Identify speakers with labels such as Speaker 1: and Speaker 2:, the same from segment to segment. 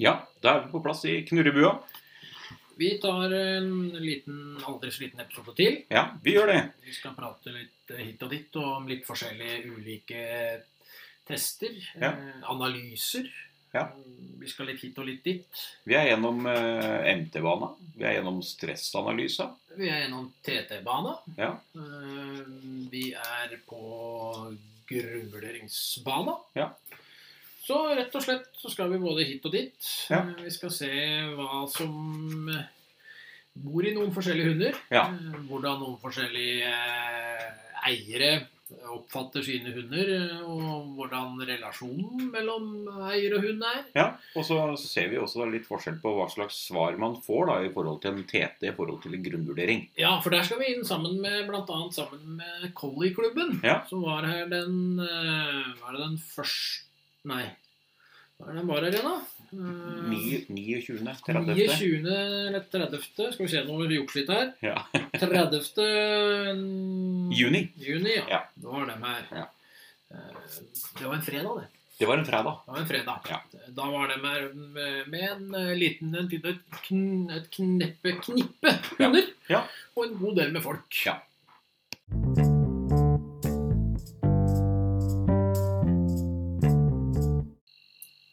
Speaker 1: Ja, da er vi på plass i knurrebua.
Speaker 2: Vi tar en liten, aldri så liten episode til.
Speaker 1: Ja, vi gjør det.
Speaker 2: Vi skal prate litt eh, hit og dit og om litt forskjellige ulike tester.
Speaker 1: Ja.
Speaker 2: eh, Analyser.
Speaker 1: Ja.
Speaker 2: Vi skal litt hit og litt dit.
Speaker 1: Vi er gjennom eh, MT-bana. Vi er gjennom stressanalysa.
Speaker 2: Vi er gjennom TT-bana.
Speaker 1: Ja.
Speaker 2: Eh, Vi er på grunnvurderingsbana.
Speaker 1: Ja.
Speaker 2: Så rett og slett så skal vi både hit og dit.
Speaker 1: Ja.
Speaker 2: Eh, Vi skal se hva som eh, bor i noen forskjellige hunder.
Speaker 1: Ja.
Speaker 2: Eh, Hvordan noen forskjellige eh, eiere oppfatter sine hunder, eh, og hvordan relasjonen mellom eier og hund er.
Speaker 1: ja. Og så ser vi også da litt forskjell på hva slags svar man får da i forhold til en TT, i forhold til en grunnvurdering.
Speaker 2: Ja, for der skal vi inn sammen med blant annet sammen med Collie-klubben.
Speaker 1: Ja.
Speaker 2: Som var her den eh, Var det den første Nei. Hva er det den var her igjen, da? Eh,
Speaker 1: Ni- 29. 30.
Speaker 2: 29. eller 30. Skal vi se, nå må vi jukse litt her.
Speaker 1: Ja.
Speaker 2: 30.
Speaker 1: Juni.
Speaker 2: Juni, ja.
Speaker 1: Ja.
Speaker 2: Det var dem her.
Speaker 1: Ja.
Speaker 2: Eh, Det var en fredag, det.
Speaker 1: Det var en fredag.
Speaker 2: Det var en fredag.
Speaker 1: Ja.
Speaker 2: Da var dem her med med en eh, liten en, tid- et, kn, et kneppe, knippe
Speaker 1: Ja.
Speaker 2: hunder.
Speaker 1: Ja.
Speaker 2: Og en god del med folk.
Speaker 1: Ja.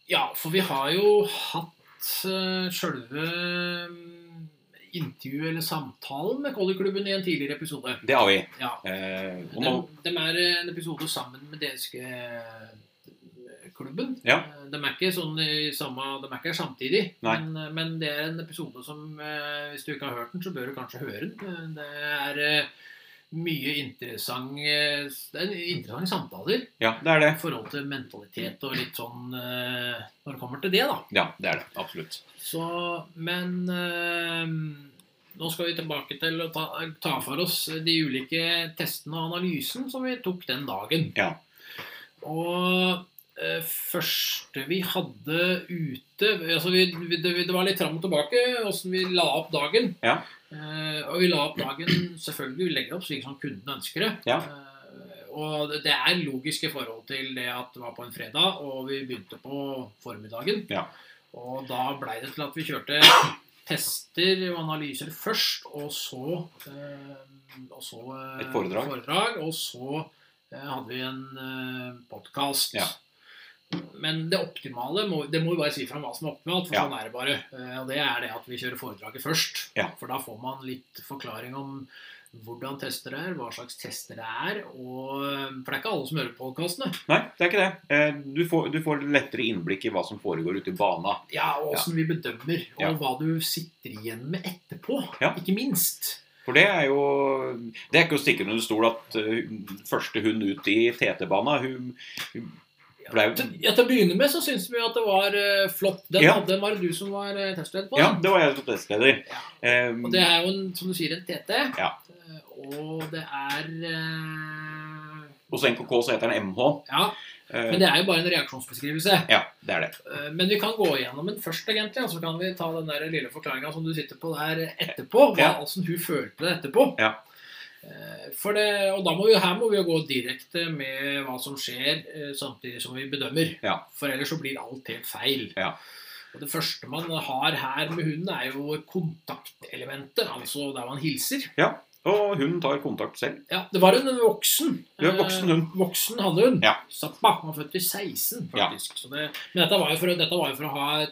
Speaker 2: Ja, for vi har jo hatt uh, sjølve mm, intervjuet eller samtalen med Collie-klubben i en tidligere episode.
Speaker 1: Det har vi.
Speaker 2: Ja.
Speaker 1: Eh, og
Speaker 2: De,
Speaker 1: nå,
Speaker 2: de er eh, en episode sammen med danske eh, klubben.
Speaker 1: Ja.
Speaker 2: Eh, De er ikke sånn i samme, de er ikke her samtidig.
Speaker 1: Nei.
Speaker 2: Men, eh, men det er en episode som eh, Hvis du ikke har hørt den, så bør du kanskje høre den. Eh, Det er eh, mye interessant eh, Det er interessante samtaler
Speaker 1: ja, det er det.
Speaker 2: i forhold til mentalitet og litt sånn eh, Når det kommer til det, da.
Speaker 1: Ja, det er det. Absolutt.
Speaker 2: Så, men eh, nå skal vi tilbake til å ta, ta for oss de ulike testene og analysen som vi tok den dagen.
Speaker 1: Ja.
Speaker 2: Og eh, første vi hadde ute altså vi, vi, det, det var litt fram og tilbake åssen vi la opp dagen.
Speaker 1: Ja.
Speaker 2: Eh, og vi la opp dagen selvfølgelig vi legger opp slik som kunden ønsker det.
Speaker 1: Ja.
Speaker 2: Eh, og det- det er logiske forhold til det at det var på en fredag, og vi begynte på formiddagen.
Speaker 1: Ja.
Speaker 2: Og da blei det til at vi kjørte tester og analyser først, og så, eh, og så eh,
Speaker 1: Et foredrag.
Speaker 2: og så eh, hadde vi en eh, podkast.
Speaker 1: Ja.
Speaker 2: Men det optimale må, Det må vi bare si fra om hva som er optimalt, for
Speaker 1: Ja.
Speaker 2: sånn er det bare. Eh, Og det er det at vi kjører foredraget først.
Speaker 1: Ja.
Speaker 2: For da får man litt forklaring om hvordan tester det er, hva slags tester det er. Og, for det er ikke alle som hører på podkastene.
Speaker 1: Nei, det er ikke det. Eh, du, får, du får lettere innblikk i hva som foregår ute i bana.
Speaker 2: Ja, og åssen vi bedømmer, og
Speaker 1: Ja.
Speaker 2: hva du sitter igjen med etterpå.
Speaker 1: Ja.
Speaker 2: Ikke minst.
Speaker 1: For det er jo Det er ikke å stikke under stol at eh, første hund ut i TT-bana Hun blei
Speaker 2: Til, ja, til å begynne med så syns vi at det var eh, flott. Den,
Speaker 1: Ja.
Speaker 2: den var det du som var uh, testleder på.
Speaker 1: Ja,
Speaker 2: da.
Speaker 1: det var jeg som testleder. Eh,
Speaker 2: Og det er jo, en, som du sier, en TT.
Speaker 1: Ja.
Speaker 2: Eh, Og det er eh,
Speaker 1: Hos NKK så heter den MH.
Speaker 2: Ja,
Speaker 1: Eh,
Speaker 2: men det er jo bare en reaksjonsbeskrivelse.
Speaker 1: Ja, det er det.
Speaker 2: Eh, Men vi kan gå igjennom den først, egentlig. Og så kan vi ta den der lille forklaringa som du sitter på der etterpå. Hva,
Speaker 1: Ja.
Speaker 2: Hvordan hun følte det etterpå.
Speaker 1: Ja.
Speaker 2: Eh, For det, og da må vi, her må vi jo gå direkte med hva som skjer, eh, samtidig som vi bedømmer.
Speaker 1: Ja.
Speaker 2: For ellers så blir alt helt feil.
Speaker 1: Ja.
Speaker 2: Og det første man har her med hunden, er jo kontaktelementet. Altså der man hilser.
Speaker 1: Og hun tar kontakt selv.
Speaker 2: Ja, Det var en voksen.
Speaker 1: Ja, voksen hund.
Speaker 2: Eh, voksen hannhund.
Speaker 1: Ja.
Speaker 2: Zappa. Han var født i 16, faktisk. Så det, men dette var jo for, å- dette var jo for å ha et,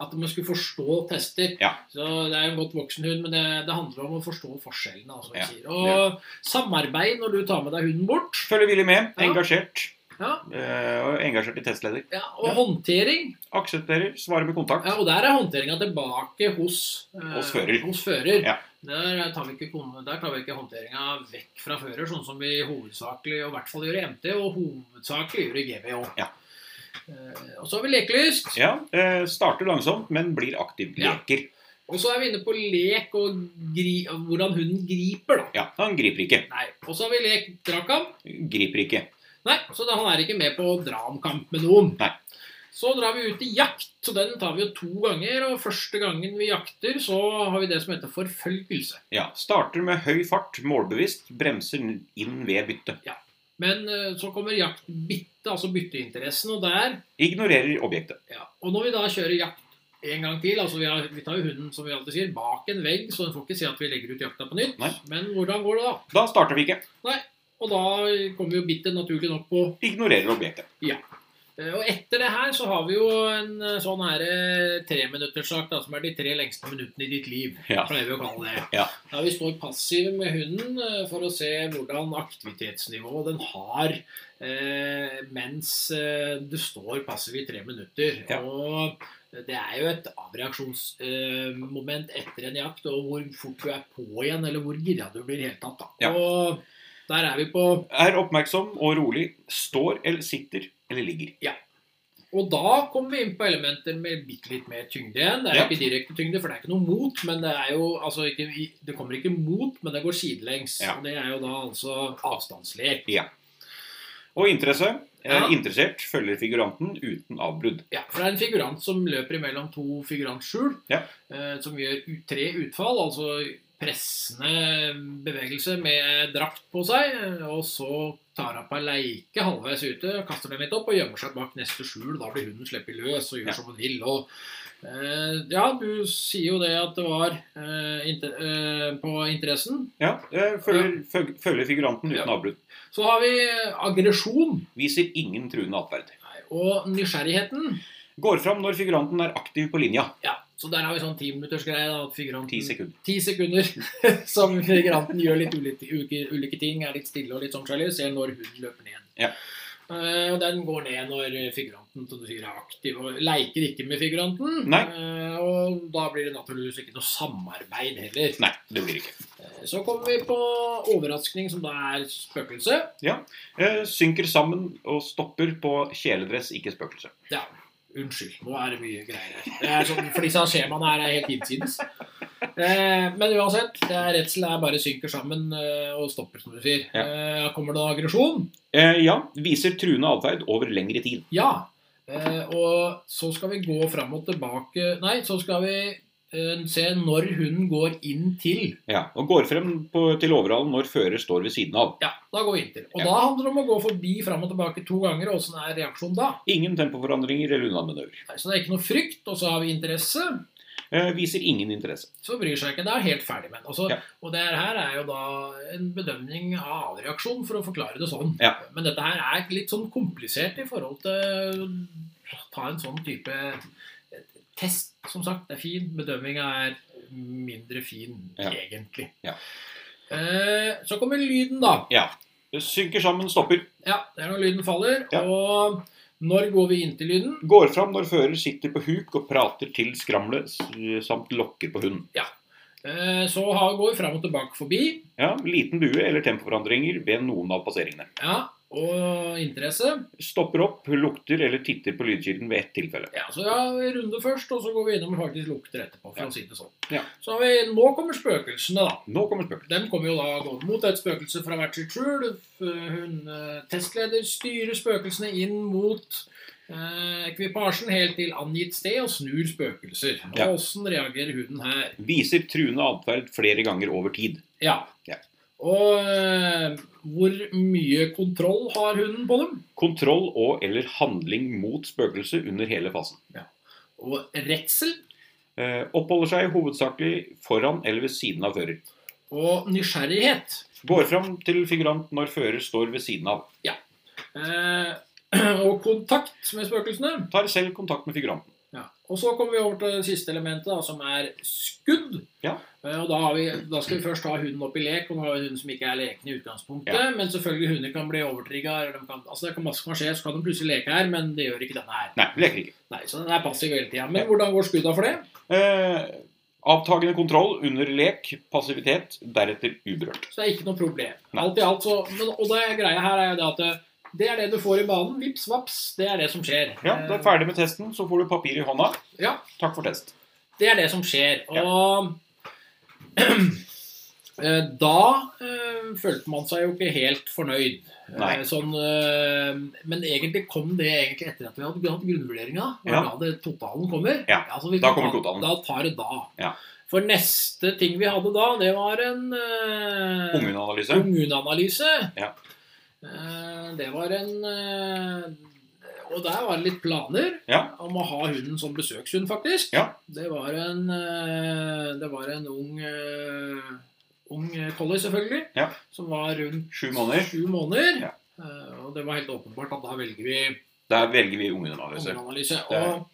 Speaker 2: At man skulle forstå tester.
Speaker 1: Ja.
Speaker 2: Så det er jo en godt voksen hund, men det, det handler om å forstå forskjellene. Altså,
Speaker 1: Ja,
Speaker 2: ja. sier. Og samarbeid når du tar med deg hunden bort.
Speaker 1: Følger villig med.
Speaker 2: Ja.
Speaker 1: Engasjert.
Speaker 2: Ja.
Speaker 1: Eh, og engasjert i testleder.
Speaker 2: Ja, og
Speaker 1: Ja.
Speaker 2: håndtering.
Speaker 1: Aksepterer. Svarer med kontakt.
Speaker 2: Ja, og der er håndteringa tilbake hos, eh,
Speaker 1: Hos fører.
Speaker 2: Hos fører.
Speaker 1: Ja.
Speaker 2: Der tar vi ikke, kon- der tar vi ikke håndteringa vekk fra fører, sånn som vi hovedsakelig og i hvert fall gjør i MT, og hovedsakelig gjør i GVO.
Speaker 1: Ja.
Speaker 2: Eh, og så har vi lekelyst.
Speaker 1: Ja, eh, starter langsomt, men blir aktiv
Speaker 2: Ja.
Speaker 1: leker.
Speaker 2: Og så er vi inne på lek og gri, og hvordan hunden griper, da.
Speaker 1: Ja, han griper ikke.
Speaker 2: Nei, Og så har vi lek dragkamp.
Speaker 1: Griper ikke.
Speaker 2: Nei, så da, han er ikke med på dramkamp med noen.
Speaker 1: Nei.
Speaker 2: Så drar vi ut i jakt, så den tar vi jo to ganger. Og første gangen vi jakter, så har vi det som heter forfølgelse.
Speaker 1: Ja, Starter med høy fart, målbevisst, bremser inn ved byttet.
Speaker 2: Men eh, så kommer jaktbytte, altså bytteinteressen, og der
Speaker 1: Ignorerer objektet.
Speaker 2: ja. Og når vi da kjører jakt en gang til, altså vi, har, vi tar jo hunden som vi alltid sier, bak en vegg, så den får ikke se at vi legger ut jakta på nytt.
Speaker 1: Nei.
Speaker 2: Men hvordan går det da?
Speaker 1: Da starter vi ikke.
Speaker 2: Og da kommer jo bittet naturlig nok på.
Speaker 1: Ignorerer objektet.
Speaker 2: Eh, Og etter det her så har vi jo en eh, sånn her eh, treminutterssak da, som er de tre lengste minuttene i ditt liv.
Speaker 1: Ja.
Speaker 2: Pleier vi å kalle det.
Speaker 1: Ja.
Speaker 2: Da vi står passive med hunden eh, for å se hvordan aktivitetsnivået den har eh, mens eh, du står passiv i tre minutter.
Speaker 1: Ja.
Speaker 2: Og det er jo et avreaksjonsmoment eh, moment etter en jakt, og hvor fort du er på igjen, eller hvor gira du blir i det hele tatt. Da.
Speaker 1: Ja.
Speaker 2: Og der er vi på
Speaker 1: Er oppmerksom og rolig. Står eller sitter eller ligger.
Speaker 2: Og da kommer vi inn på elementer med bitte litt mer tyngde igjen. Det er
Speaker 1: Ja.
Speaker 2: ikke direkte tyngde, for det er ikke noe mot, men det er jo altså ikke, Det kommer ikke mot, men det går sidelengs.
Speaker 1: Ja.
Speaker 2: Og det er jo da altså avstandslek.
Speaker 1: Og interesse. Er
Speaker 2: Ja.
Speaker 1: interessert. Følger figuranten uten avbrudd.
Speaker 2: Ja, for det er en figurant som løper imellom to figurantskjul,
Speaker 1: Ja.
Speaker 2: eh, som gjør ut- tre utfall, altså pressende bevegelse med drakt på seg, eh, og så tar han på ei leike halvveis ute, kaster den litt opp og gjemmer seg bak neste skjul. Da blir hunden sluppet løs og gjør
Speaker 1: Ja.
Speaker 2: som hun vil. Og, eh, ja, du sier jo det at det var eh, inter, eh, på interessen.
Speaker 1: Ja, eh, følger, følg- følger figuranten uten
Speaker 2: Ja.
Speaker 1: avbrudd.
Speaker 2: Så har vi aggresjon
Speaker 1: Viser ingen truende atferd.
Speaker 2: og nysgjerrigheten.
Speaker 1: Går fram når figuranten er aktiv på linja.
Speaker 2: Ja, så der har vi sånn timinuttersgreie. da, at figuranten-
Speaker 1: Ti sekunder.
Speaker 2: ti sekunder som figuranten gjør litt ulike, ulike, ulike ting, er litt stille og litt sånn sjalu, ser når hunden løper ned.
Speaker 1: Ja.
Speaker 2: Eh, og den går ned når figuranten som du sier, er aktiv og leker ikke med figuranten.
Speaker 1: Nei.
Speaker 2: Eh, og da blir det naturligvis ikke noe samarbeid heller.
Speaker 1: Nei, det blir ikke.
Speaker 2: Eh, Så kommer vi på overraskning, som da er spøkelse.
Speaker 1: Eh, synker sammen og stopper på kjeledress, ikke spøkelse.
Speaker 2: Ja, unnskyld. Nå er det mye greier her. Det er sånn, for disse skjemaene her er helt innsides. Eh, men uansett, det er redsel er bare synker sammen eh, og stopper, som du sier.
Speaker 1: Ja.
Speaker 2: Eh, kommer det aggresjon?
Speaker 1: Eh, ja, viser truende atferd over lengre tid.
Speaker 2: Ja. Eh, og så skal vi gå fram og tilbake Nei, så skal vi eh, se når hunden går inn til.
Speaker 1: Ja, Og går frem på, til overhalen når fører står ved siden av.
Speaker 2: Ja, da går vi inn til. Og
Speaker 1: Ja.
Speaker 2: da handler det om å gå forbi fram og tilbake to ganger. og Åssen er reaksjonen da?
Speaker 1: Ingen tempoforandringer eller unnamanøver.
Speaker 2: Nei, Så det er ikke noe frykt, og så har vi interesse.
Speaker 1: Eh, viser ingen interesse.
Speaker 2: så bryr seg ikke. Det er helt ferdig med den. Altså,
Speaker 1: Ja.
Speaker 2: Og det her er jo da en bedømning av avreaksjon, for å forklare det sånn.
Speaker 1: Ja.
Speaker 2: Men dette her er litt sånn komplisert i forhold til å ta en sånn type test, som sagt. Det er fin. Bedømminga er mindre fin,
Speaker 1: Ja.
Speaker 2: egentlig.
Speaker 1: Ja.
Speaker 2: Eh, så kommer lyden, da.
Speaker 1: Synker sammen, stopper.
Speaker 2: Ja, det er når lyden faller.
Speaker 1: Ja.
Speaker 2: Og når går vi inn til lyden?
Speaker 1: Går fram når fører sitter på huk og prater til skramlet s- samt lokker på hunden.
Speaker 2: Eh, så har- går vi fram og tilbake forbi.
Speaker 1: Ja, Liten bue eller tempoforandringer ved noen av passeringene.
Speaker 2: Ja, og interesse.
Speaker 1: Stopper opp, lukter eller titter på lydkilden ved ett tilfelle.
Speaker 2: Ja, så ja, vi runder først, og så går vi innom og faktisk lukter etterpå, for
Speaker 1: Ja.
Speaker 2: å si det sånn.
Speaker 1: Ja.
Speaker 2: Så har vi, nå kommer spøkelsene, da.
Speaker 1: Nå kommer spøkelset.
Speaker 2: De kommer jo da gående mot et spøkelse fra hvert sitt skjul. F- Hun, eh, testleder styrer spøkelsene inn mot eh, ekvipasjen helt til angitt sted og snur spøkelser. Og
Speaker 1: Ja.
Speaker 2: Åssen reagerer huden her?
Speaker 1: Viser truende atferd flere ganger over tid.
Speaker 2: Ja.
Speaker 1: Ja.
Speaker 2: Og eh, hvor mye kontroll har hunden på dem?
Speaker 1: Kontroll og eller handling mot spøkelset under hele fasen.
Speaker 2: Og redsel
Speaker 1: Eh, oppholder seg hovedsakelig foran eller ved siden av fører.
Speaker 2: og nysgjerrighet.
Speaker 1: Går fram til figurant når fører står ved siden av.
Speaker 2: Eh, og kontakt med spøkelsene.
Speaker 1: Tar selv kontakt med figuranten.
Speaker 2: Ja. Og så kommer vi over til det siste elementet, da, som er skudd.
Speaker 1: Ja.
Speaker 2: Eh, Og da, har vi, da skal vi først ha hunden opp i lek, og nå har vi en hund som ikke er leken i utgangspunktet.
Speaker 1: Ja.
Speaker 2: Men selvfølgelig hunder kan bli overtrigga. eller de kan- Altså det kan masse som kan skje, så kan de plutselig leke her, men det gjør ikke denne her.
Speaker 1: Nei, leker ikke.
Speaker 2: Nei, Så den er passiv hele tida. Men
Speaker 1: Ja.
Speaker 2: hvordan går skudda for det?
Speaker 1: Eh, avtagende kontroll under lek, passivitet, deretter uberørt.
Speaker 2: Så det er ikke noe problem.
Speaker 1: Nei.
Speaker 2: Alt i alt så, men, Og det greia her er jo det at eh, det er det du får i banen. Vips, vaps. Det er det som skjer.
Speaker 1: Ja,
Speaker 2: Eh,
Speaker 1: Du er ferdig med testen, så får du papir i hånda.
Speaker 2: Ja.
Speaker 1: Takk for test.
Speaker 2: Det er det som skjer. Og
Speaker 1: Ja.
Speaker 2: eh, da eh, følte man seg jo ikke helt fornøyd. Eh,
Speaker 1: Nei.
Speaker 2: Sånn, eh, men egentlig kom det egentlig etter at vi hadde hatt grunnvurderinga. Ja.
Speaker 1: Ja.
Speaker 2: Da det totalen kommer.
Speaker 1: Ja,
Speaker 2: Altså, hvis
Speaker 1: da
Speaker 2: vi
Speaker 1: kommer
Speaker 2: tar-
Speaker 1: totalen.
Speaker 2: Da tar det da.
Speaker 1: Ja.
Speaker 2: For neste ting vi hadde da, det var en eh,
Speaker 1: Unghundanalyse.
Speaker 2: Ungunanalyse.
Speaker 1: Ja.
Speaker 2: Eh, Det var en eh, Og der var det litt planer
Speaker 1: Ja.
Speaker 2: om å ha hunden som besøkshund, faktisk.
Speaker 1: Ja.
Speaker 2: Det var en, eh, det var en ung, eh, ung collie, selvfølgelig,
Speaker 1: Ja.
Speaker 2: som var rundt
Speaker 1: Sju måneder.
Speaker 2: sju måneder.
Speaker 1: Ja.
Speaker 2: Eh, Og det var helt åpenbart at da velger vi
Speaker 1: Der velger vi ungene, Magnus.
Speaker 2: Områdeanalyse.
Speaker 1: Det er-
Speaker 2: Og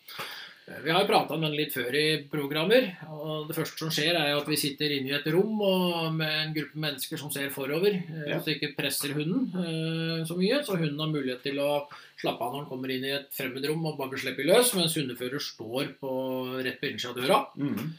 Speaker 2: eh, vi har jo prata om den litt før i programmer. og Det første som skjer, er jo at vi sitter inne i et rom og med en gruppe mennesker som ser forover. eh,
Speaker 1: Ja.
Speaker 2: Så det ikke presser hunden eh, så mye. Så hunden har mulighet til å slappe av når den kommer inn i et fremmed rom og bare slipper løs, mens hundefører står på rett på innsida av døra.
Speaker 1: Mm.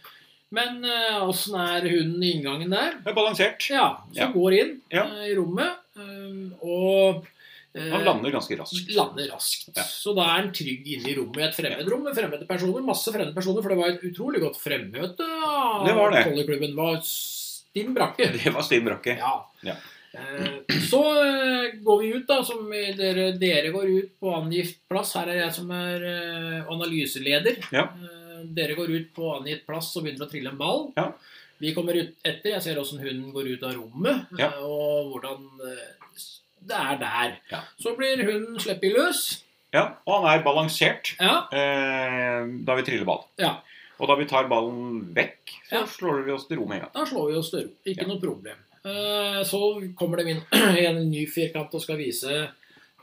Speaker 2: Men eh, åssen er hunden i inngangen der?
Speaker 1: Det er balansert.
Speaker 2: Ja, som
Speaker 1: Ja.
Speaker 2: går inn
Speaker 1: Ja.
Speaker 2: eh, i rommet. eh, og eh,
Speaker 1: Han lander ganske raskt.
Speaker 2: lander raskt.
Speaker 1: Ja.
Speaker 2: Så da er han trygg inne i rommet i et fremmed rom med fremmede personer. Masse fremmede personer, for det var et utrolig godt fremmøte av
Speaker 1: Det var det.
Speaker 2: Collyklubben. Det var stinn brakke.
Speaker 1: Det var Stim Brakke.
Speaker 2: Ja.
Speaker 1: Ja.
Speaker 2: Eh, Så eh, går vi ut, da, som dere, dere går ut på angitt plass. Her er jeg som er eh, analyseleder.
Speaker 1: Ja.
Speaker 2: Eh, Dere går ut på angitt plass og begynner å trille en ball.
Speaker 1: Ja.
Speaker 2: Vi kommer ut etter. Jeg ser åssen hunden går ut av rommet, eh,
Speaker 1: Ja.
Speaker 2: og hvordan eh, det er der.
Speaker 1: Ja.
Speaker 2: Så blir hunden sluppet løs.
Speaker 1: Ja, og han er balansert
Speaker 2: Ja,
Speaker 1: eh, da vi triller ball.
Speaker 2: Ja.
Speaker 1: Og da vi tar ballen vekk, så
Speaker 2: Ja.
Speaker 1: slår vi oss til ro med en gang.
Speaker 2: da slår vi oss til ro. Ikke
Speaker 1: Ja.
Speaker 2: noe problem. Eh, Så kommer de inn i en ny firkant og skal vise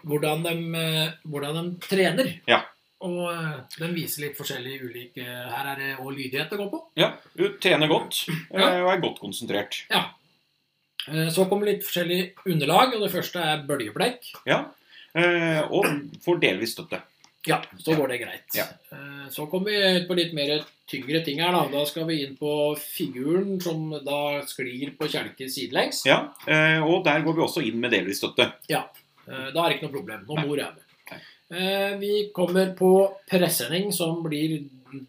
Speaker 2: hvordan de, eh, hvordan de trener.
Speaker 1: Ja.
Speaker 2: Og eh, de viser litt forskjellig ulik eh, Her er det òg lydighet det går på.
Speaker 1: Ja, Du trener godt eh,
Speaker 2: Ja.
Speaker 1: og er godt konsentrert.
Speaker 2: Eh, Så kommer litt forskjellig underlag, og det første er bøljeblekk.
Speaker 1: Ja, eh, Og får delvis støtte.
Speaker 2: Ja, så går det greit.
Speaker 1: Ja.
Speaker 2: Eh, Så kommer vi på litt mer tyngre ting her. Da Da skal vi inn på figuren som da sklir på kjelke sidelengs.
Speaker 1: Ja, eh, Og der går vi også inn med delvis støtte.
Speaker 2: Eh, Da er det ikke noe problem. Nå
Speaker 1: Nei.
Speaker 2: bor jeg
Speaker 1: Nei.
Speaker 2: med. Eh, Vi kommer på presenning som blir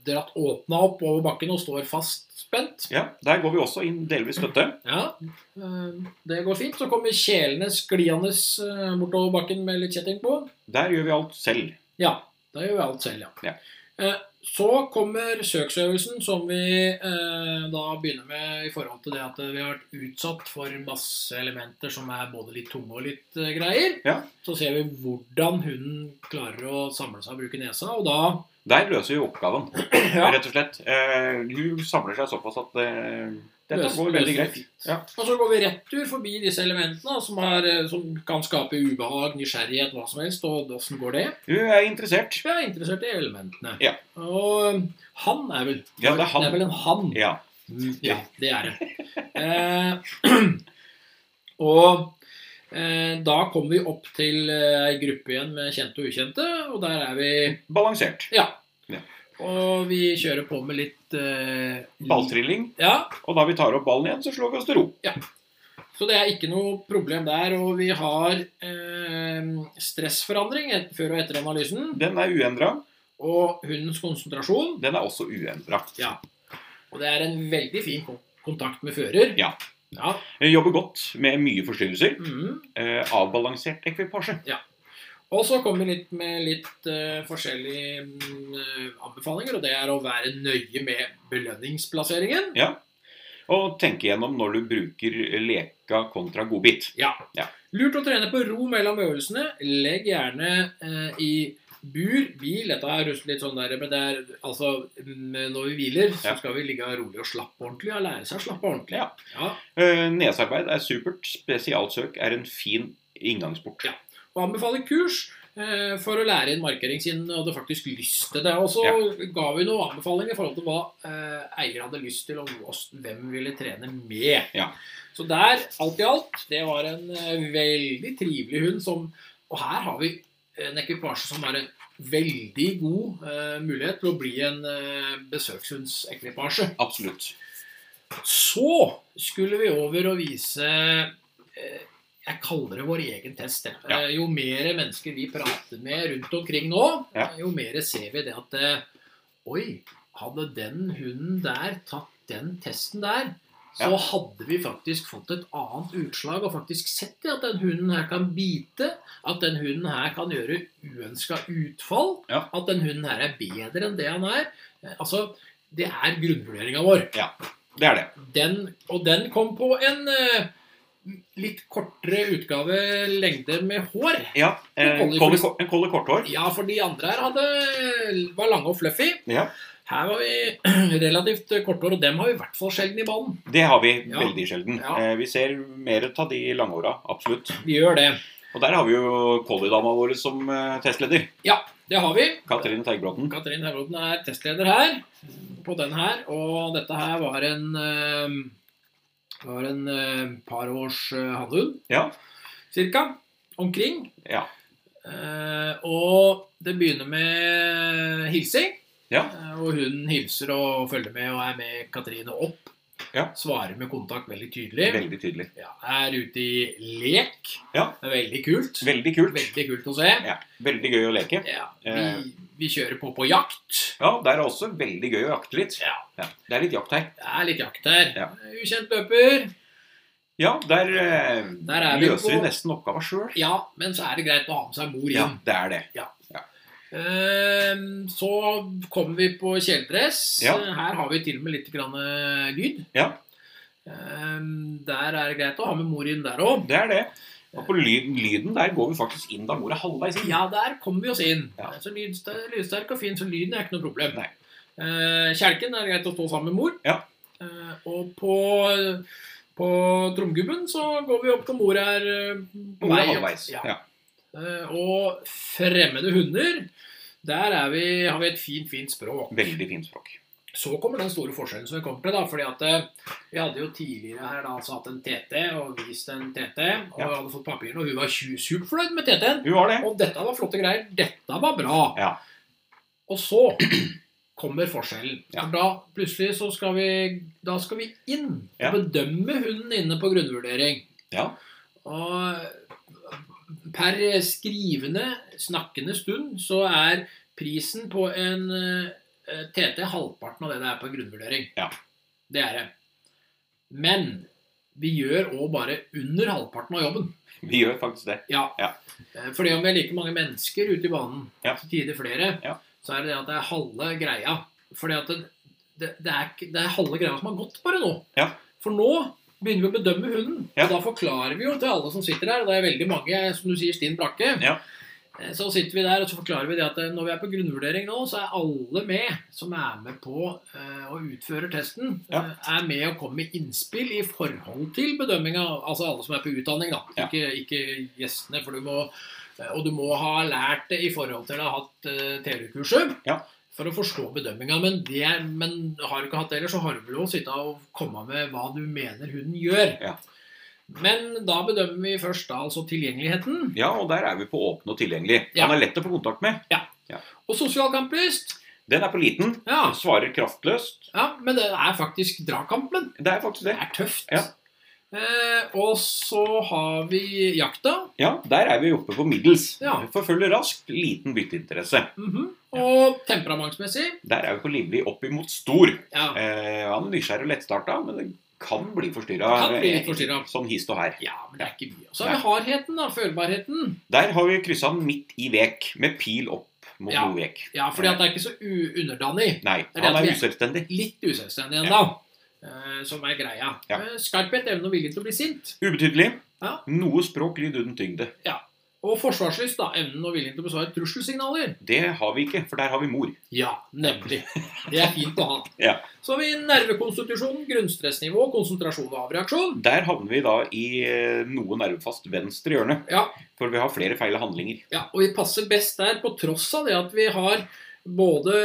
Speaker 2: dratt åpna opp over bakken og står fast spent.
Speaker 1: Ja, Der går vi også inn delvis støtte.
Speaker 2: Ja, eh, det går fint. Så kommer kjelene skliende eh, bortover bakken med litt kjetting på.
Speaker 1: Der gjør vi alt selv.
Speaker 2: Ja, da gjør vi alt selv, ja.
Speaker 1: Ja.
Speaker 2: Eh, Så kommer søksøvelsen, som vi eh, da begynner med i forhold til det at vi har vært utsatt for masse elementer som er både litt tunge og litt eh, greier.
Speaker 1: Ja.
Speaker 2: Så ser vi hvordan hunden klarer å samle seg og bruke nesa, og da
Speaker 1: Der løser vi oppgaven,
Speaker 2: Ja.
Speaker 1: rett og slett. Eh, hun samler seg såpass at eh, dette
Speaker 2: løs-
Speaker 1: går veldig
Speaker 2: løser vi
Speaker 1: greit.
Speaker 2: fint.
Speaker 1: Ja.
Speaker 2: Og så går vi rett tur forbi disse elementene som, er, eh, som kan skape ubehag, nysgjerrighet, hva som helst, og åssen går det?
Speaker 1: Du er interessert.
Speaker 2: Vi er interessert i elementene.
Speaker 1: Ja.
Speaker 2: Og eh, han er vel
Speaker 1: Ja, det er han.
Speaker 2: Det er vel en han.
Speaker 1: Ja.
Speaker 2: Ja, det er det. Eh, og eh, da kommer vi opp til eh, ei gruppe igjen med kjente og ukjente, og der er vi
Speaker 1: Balansert.
Speaker 2: Ja.
Speaker 1: Ja.
Speaker 2: Og vi kjører på med litt eh,
Speaker 1: Balltrilling.
Speaker 2: Ja,
Speaker 1: Og da vi tar opp ballen igjen, så slår vi oss til ro.
Speaker 2: Så det er ikke noe problem der. Og vi har eh, stressforandring et- før og etter analysen.
Speaker 1: Den er uendra.
Speaker 2: Og hundens konsentrasjon.
Speaker 1: Den er også uendra.
Speaker 2: Ja. Og det er en veldig fin kon- kontakt med fører.
Speaker 1: Ja.
Speaker 2: ja.
Speaker 1: Jobber godt med mye forstyrrelser.
Speaker 2: mhm.
Speaker 1: Eh, avbalansert ekvipasje.
Speaker 2: Og så kommer vi litt med litt eh, forskjellige mm, eh, anbefalinger, og det er å være nøye med belønningsplasseringen.
Speaker 1: Og tenke gjennom når du bruker leka kontra godbit.
Speaker 2: Lurt å trene på ro mellom øvelsene. Legg gjerne eh, i bur, bil Dette er russ- litt sånn der, men det er altså mm, Når vi hviler, så
Speaker 1: Ja.
Speaker 2: skal vi ligge rolig og slappe ordentlig. Og lære seg å slappe ordentlig.
Speaker 1: Ja.
Speaker 2: ja.
Speaker 1: Eh, nesarbeid er supert. Spesialsøk er en fin inngangsport.
Speaker 2: og anbefaler kurs eh, for å lære inn markering siden du hadde faktisk lyst til det. Og så ga vi noen anbefalinger i forhold til hva eh, eier hadde lyst til, og hva- hvem ville trene med.
Speaker 1: Ja.
Speaker 2: Så der, alt i alt, det var en eh, veldig trivelig hund som Og her har vi en ekvipasje som har en veldig god eh, mulighet til å bli en eh, besøkshundsekvipasje.
Speaker 1: Absolutt.
Speaker 2: Så skulle vi over og vise eh, Jeg kaller det vår egen test. jeg.
Speaker 1: Ja.
Speaker 2: Eh, Jo mer mennesker vi prater med rundt omkring nå,
Speaker 1: Ja.
Speaker 2: eh, jo mer ser vi det at eh, Oi, hadde den hunden der tatt den testen der, så
Speaker 1: Ja.
Speaker 2: hadde vi faktisk fått et annet utslag og faktisk sett det at den hunden her kan bite, at den hunden her kan gjøre uønska utfall,
Speaker 1: Ja.
Speaker 2: at den hunden her er bedre enn det han er. Eh, Altså, det er grunnvurderinga vår.
Speaker 1: Det er det.
Speaker 2: Den, og den kom på en eh, litt kortere utgave lengde med hår.
Speaker 1: Ja, eh,
Speaker 2: En
Speaker 1: en
Speaker 2: collie-
Speaker 1: collie- en collie korthår.
Speaker 2: Ja, for de andre her hadde, var lange og fluffy.
Speaker 1: Ja,
Speaker 2: Her var vi relativt korthår, og dem har vi i hvert fall sjelden i banen.
Speaker 1: det har vi
Speaker 2: Ja.
Speaker 1: veldig sjelden.
Speaker 2: Ja.
Speaker 1: Eh, vi ser mer av de langhåra, absolutt.
Speaker 2: Vi gjør det.
Speaker 1: Og der har vi jo colliedama vår som eh, testleder.
Speaker 2: Det har vi.
Speaker 1: Katrine Teigbråten.
Speaker 2: Katrin Høybråten er testleder her, på den her. Og dette her var en, eh, var en eh, par års eh, hannhund,
Speaker 1: Ja.
Speaker 2: cirka. Omkring.
Speaker 1: Ja.
Speaker 2: Eh, og det begynner med hilsing.
Speaker 1: Ja.
Speaker 2: Eh, og hun hilser og følger med og er med Katrine opp.
Speaker 1: Ja.
Speaker 2: Svarer med kontakt veldig tydelig.
Speaker 1: Veldig tydelig.
Speaker 2: Ja, er ute i lek.
Speaker 1: Ja.
Speaker 2: Det er veldig kult.
Speaker 1: Veldig kult.
Speaker 2: Veldig kult å se.
Speaker 1: Ja, veldig gøy å leke.
Speaker 2: Ja,
Speaker 1: Eh.
Speaker 2: vi, vi kjører på på jakt.
Speaker 1: Ja, der er også veldig gøy å jakte litt.
Speaker 2: Ja.
Speaker 1: Det er litt jakt her.
Speaker 2: Det er litt jakt her.
Speaker 1: Ja.
Speaker 2: Ukjent løper.
Speaker 1: Ja, der, eh,
Speaker 2: Der er vi
Speaker 1: løser vi
Speaker 2: på-
Speaker 1: nesten oppgava sjøl.
Speaker 2: Ja, men så er det greit å ha med seg mor inn.
Speaker 1: Ja, det er det.
Speaker 2: Ehm, så kommer vi på kjeledress.
Speaker 1: Ja.
Speaker 2: Her har vi til og med litt grann eh, lyd.
Speaker 1: Ja.
Speaker 2: Ehm, der er det greit å ha med mor inn der òg.
Speaker 1: Det er det. Og på lyden, lyden der går vi faktisk inn da mor er halvveis inn.
Speaker 2: Ja, der kommer vi oss inn.
Speaker 1: Ja.
Speaker 2: Så lydster, lydsterk og fin, så lyden er ikke noe problem.
Speaker 1: Nei.
Speaker 2: Eh, kjelken er det greit å stå sammen med mor.
Speaker 1: Ja.
Speaker 2: Eh, og på, på tromgubben så går vi opp til mor er eh, på
Speaker 1: Mor
Speaker 2: vei
Speaker 1: er
Speaker 2: opp.
Speaker 1: halvveis.
Speaker 2: Ja.
Speaker 1: Ja.
Speaker 2: Eh, Og fremmede hunder, der er vi, har vi et fint, fint språk.
Speaker 1: Veldig fint språk.
Speaker 2: Så kommer den store forskjellen som vi kommer til. da, fordi at eh, Vi hadde jo tidligere her da altså hatt en TT og vist en TT. Og
Speaker 1: Ja.
Speaker 2: vi hadde fått papirene, og hun var tju- superfornøyd med TT-en.
Speaker 1: Hun har det.
Speaker 2: Og dette var flotte greier. Dette var bra.
Speaker 1: Ja.
Speaker 2: Og så kommer forskjellen.
Speaker 1: Ja.
Speaker 2: For da plutselig så skal vi, da skal vi inn og
Speaker 1: Ja.
Speaker 2: bedømme hunden inne på grunnvurdering.
Speaker 1: Ja.
Speaker 2: Og per skrivende, snakkende stund så er prisen på en eh, TT halvparten av det det er på en grunnvurdering.
Speaker 1: Ja.
Speaker 2: Det er det. Men vi gjør òg bare under halvparten av jobben.
Speaker 1: Vi gjør faktisk det.
Speaker 2: Ja.
Speaker 1: Ja.
Speaker 2: Eh, Fordi om vi er like mange mennesker ute i banen,
Speaker 1: Ja.
Speaker 2: til tider flere,
Speaker 1: Ja.
Speaker 2: så er det det at det er halve greia. Fordi at det, det, det, er, ikke- det er halve greia som har gått bare nå.
Speaker 1: Ja.
Speaker 2: For nå begynner vi å bedømme hunden.
Speaker 1: Ja.
Speaker 2: Og da forklarer vi jo til alle som sitter der, og det er veldig mange, som du sier, stinn brakke.
Speaker 1: Ja.
Speaker 2: Eh, Så sitter vi der, og så forklarer vi det at eh, når vi er på grunnvurdering nå, så er alle med som er med på eh, og utfører testen,
Speaker 1: Ja.
Speaker 2: eh, er med og kommer med innspill i forhold til bedømminga. Altså alle som er på utdanning, da.
Speaker 1: Ja.
Speaker 2: Ikke, ikke gjestene, for du må eh, Og du må ha lært det i forhold til å ha hatt eh, TV-kurset.
Speaker 1: Ja.
Speaker 2: For å forstå bedømminga. Men, det, men har du ikke hatt det ellers, så har du vel lov å sitte og komme med hva du mener hunden gjør.
Speaker 1: Ja.
Speaker 2: Men da bedømmer vi først da altså tilgjengeligheten.
Speaker 1: Ja, og der er vi på åpen og tilgjengelig.
Speaker 2: Ja.
Speaker 1: Han er lett å få kontakt med.
Speaker 2: Og sosial kamplyst.
Speaker 1: Den er på liten.
Speaker 2: Ja,
Speaker 1: Svarer kraftløst.
Speaker 2: ja, men det er faktisk dragkampen.
Speaker 1: Det er faktisk
Speaker 2: Det
Speaker 1: det.
Speaker 2: er tøft.
Speaker 1: Ja.
Speaker 2: Eh, og så har vi jakta.
Speaker 1: Ja, der er vi oppe på middels.
Speaker 2: Ja.
Speaker 1: Forfølger raskt, liten bytteinteresse.
Speaker 2: Mhm. Og temperamentsmessig
Speaker 1: Der er vi på livlig opp imot stor.
Speaker 2: ja.
Speaker 1: Eh, han er nysgjerrig og lettstarta, men den kan bli forstyrra.
Speaker 2: Kan bli litt forstyrret.
Speaker 1: Sånn hist og her.
Speaker 2: ja, men det er ikke mye. Og så har vi hardheten, da. Følbarheten.
Speaker 1: Der har vi kryssa den midt i vek, med pil opp mot
Speaker 2: Ja.
Speaker 1: Nordvek.
Speaker 2: Ja, fordi at det er ikke så u- underdanig.
Speaker 1: Nei,
Speaker 2: Det er det
Speaker 1: han
Speaker 2: at
Speaker 1: er
Speaker 2: vi-
Speaker 1: uselvstendig.
Speaker 2: Litt uselvstendig ennå. Eh, som er greia.
Speaker 1: Ja.
Speaker 2: Eh, Skarphet, evne og vilje til å bli sint.
Speaker 1: Ubetydelig.
Speaker 2: Ja.
Speaker 1: Noe språk, lyd uten tyngde.
Speaker 2: Og forsvarslyst, da. Evnen og viljen til å besvare trusselsignaler.
Speaker 1: Det har vi ikke, for der har vi mor.
Speaker 2: Ja, nemlig. Det er fint å ha.
Speaker 1: Ja.
Speaker 2: Så har vi nervekonstitusjon, grunnstressnivå, konsentrasjon og avreaksjon.
Speaker 1: Der havner vi da i eh, noe nervefast venstre hjørne,
Speaker 2: Ja.
Speaker 1: for vi har flere feile handlinger.
Speaker 2: Ja, og vi passer best der på tross av det at vi har både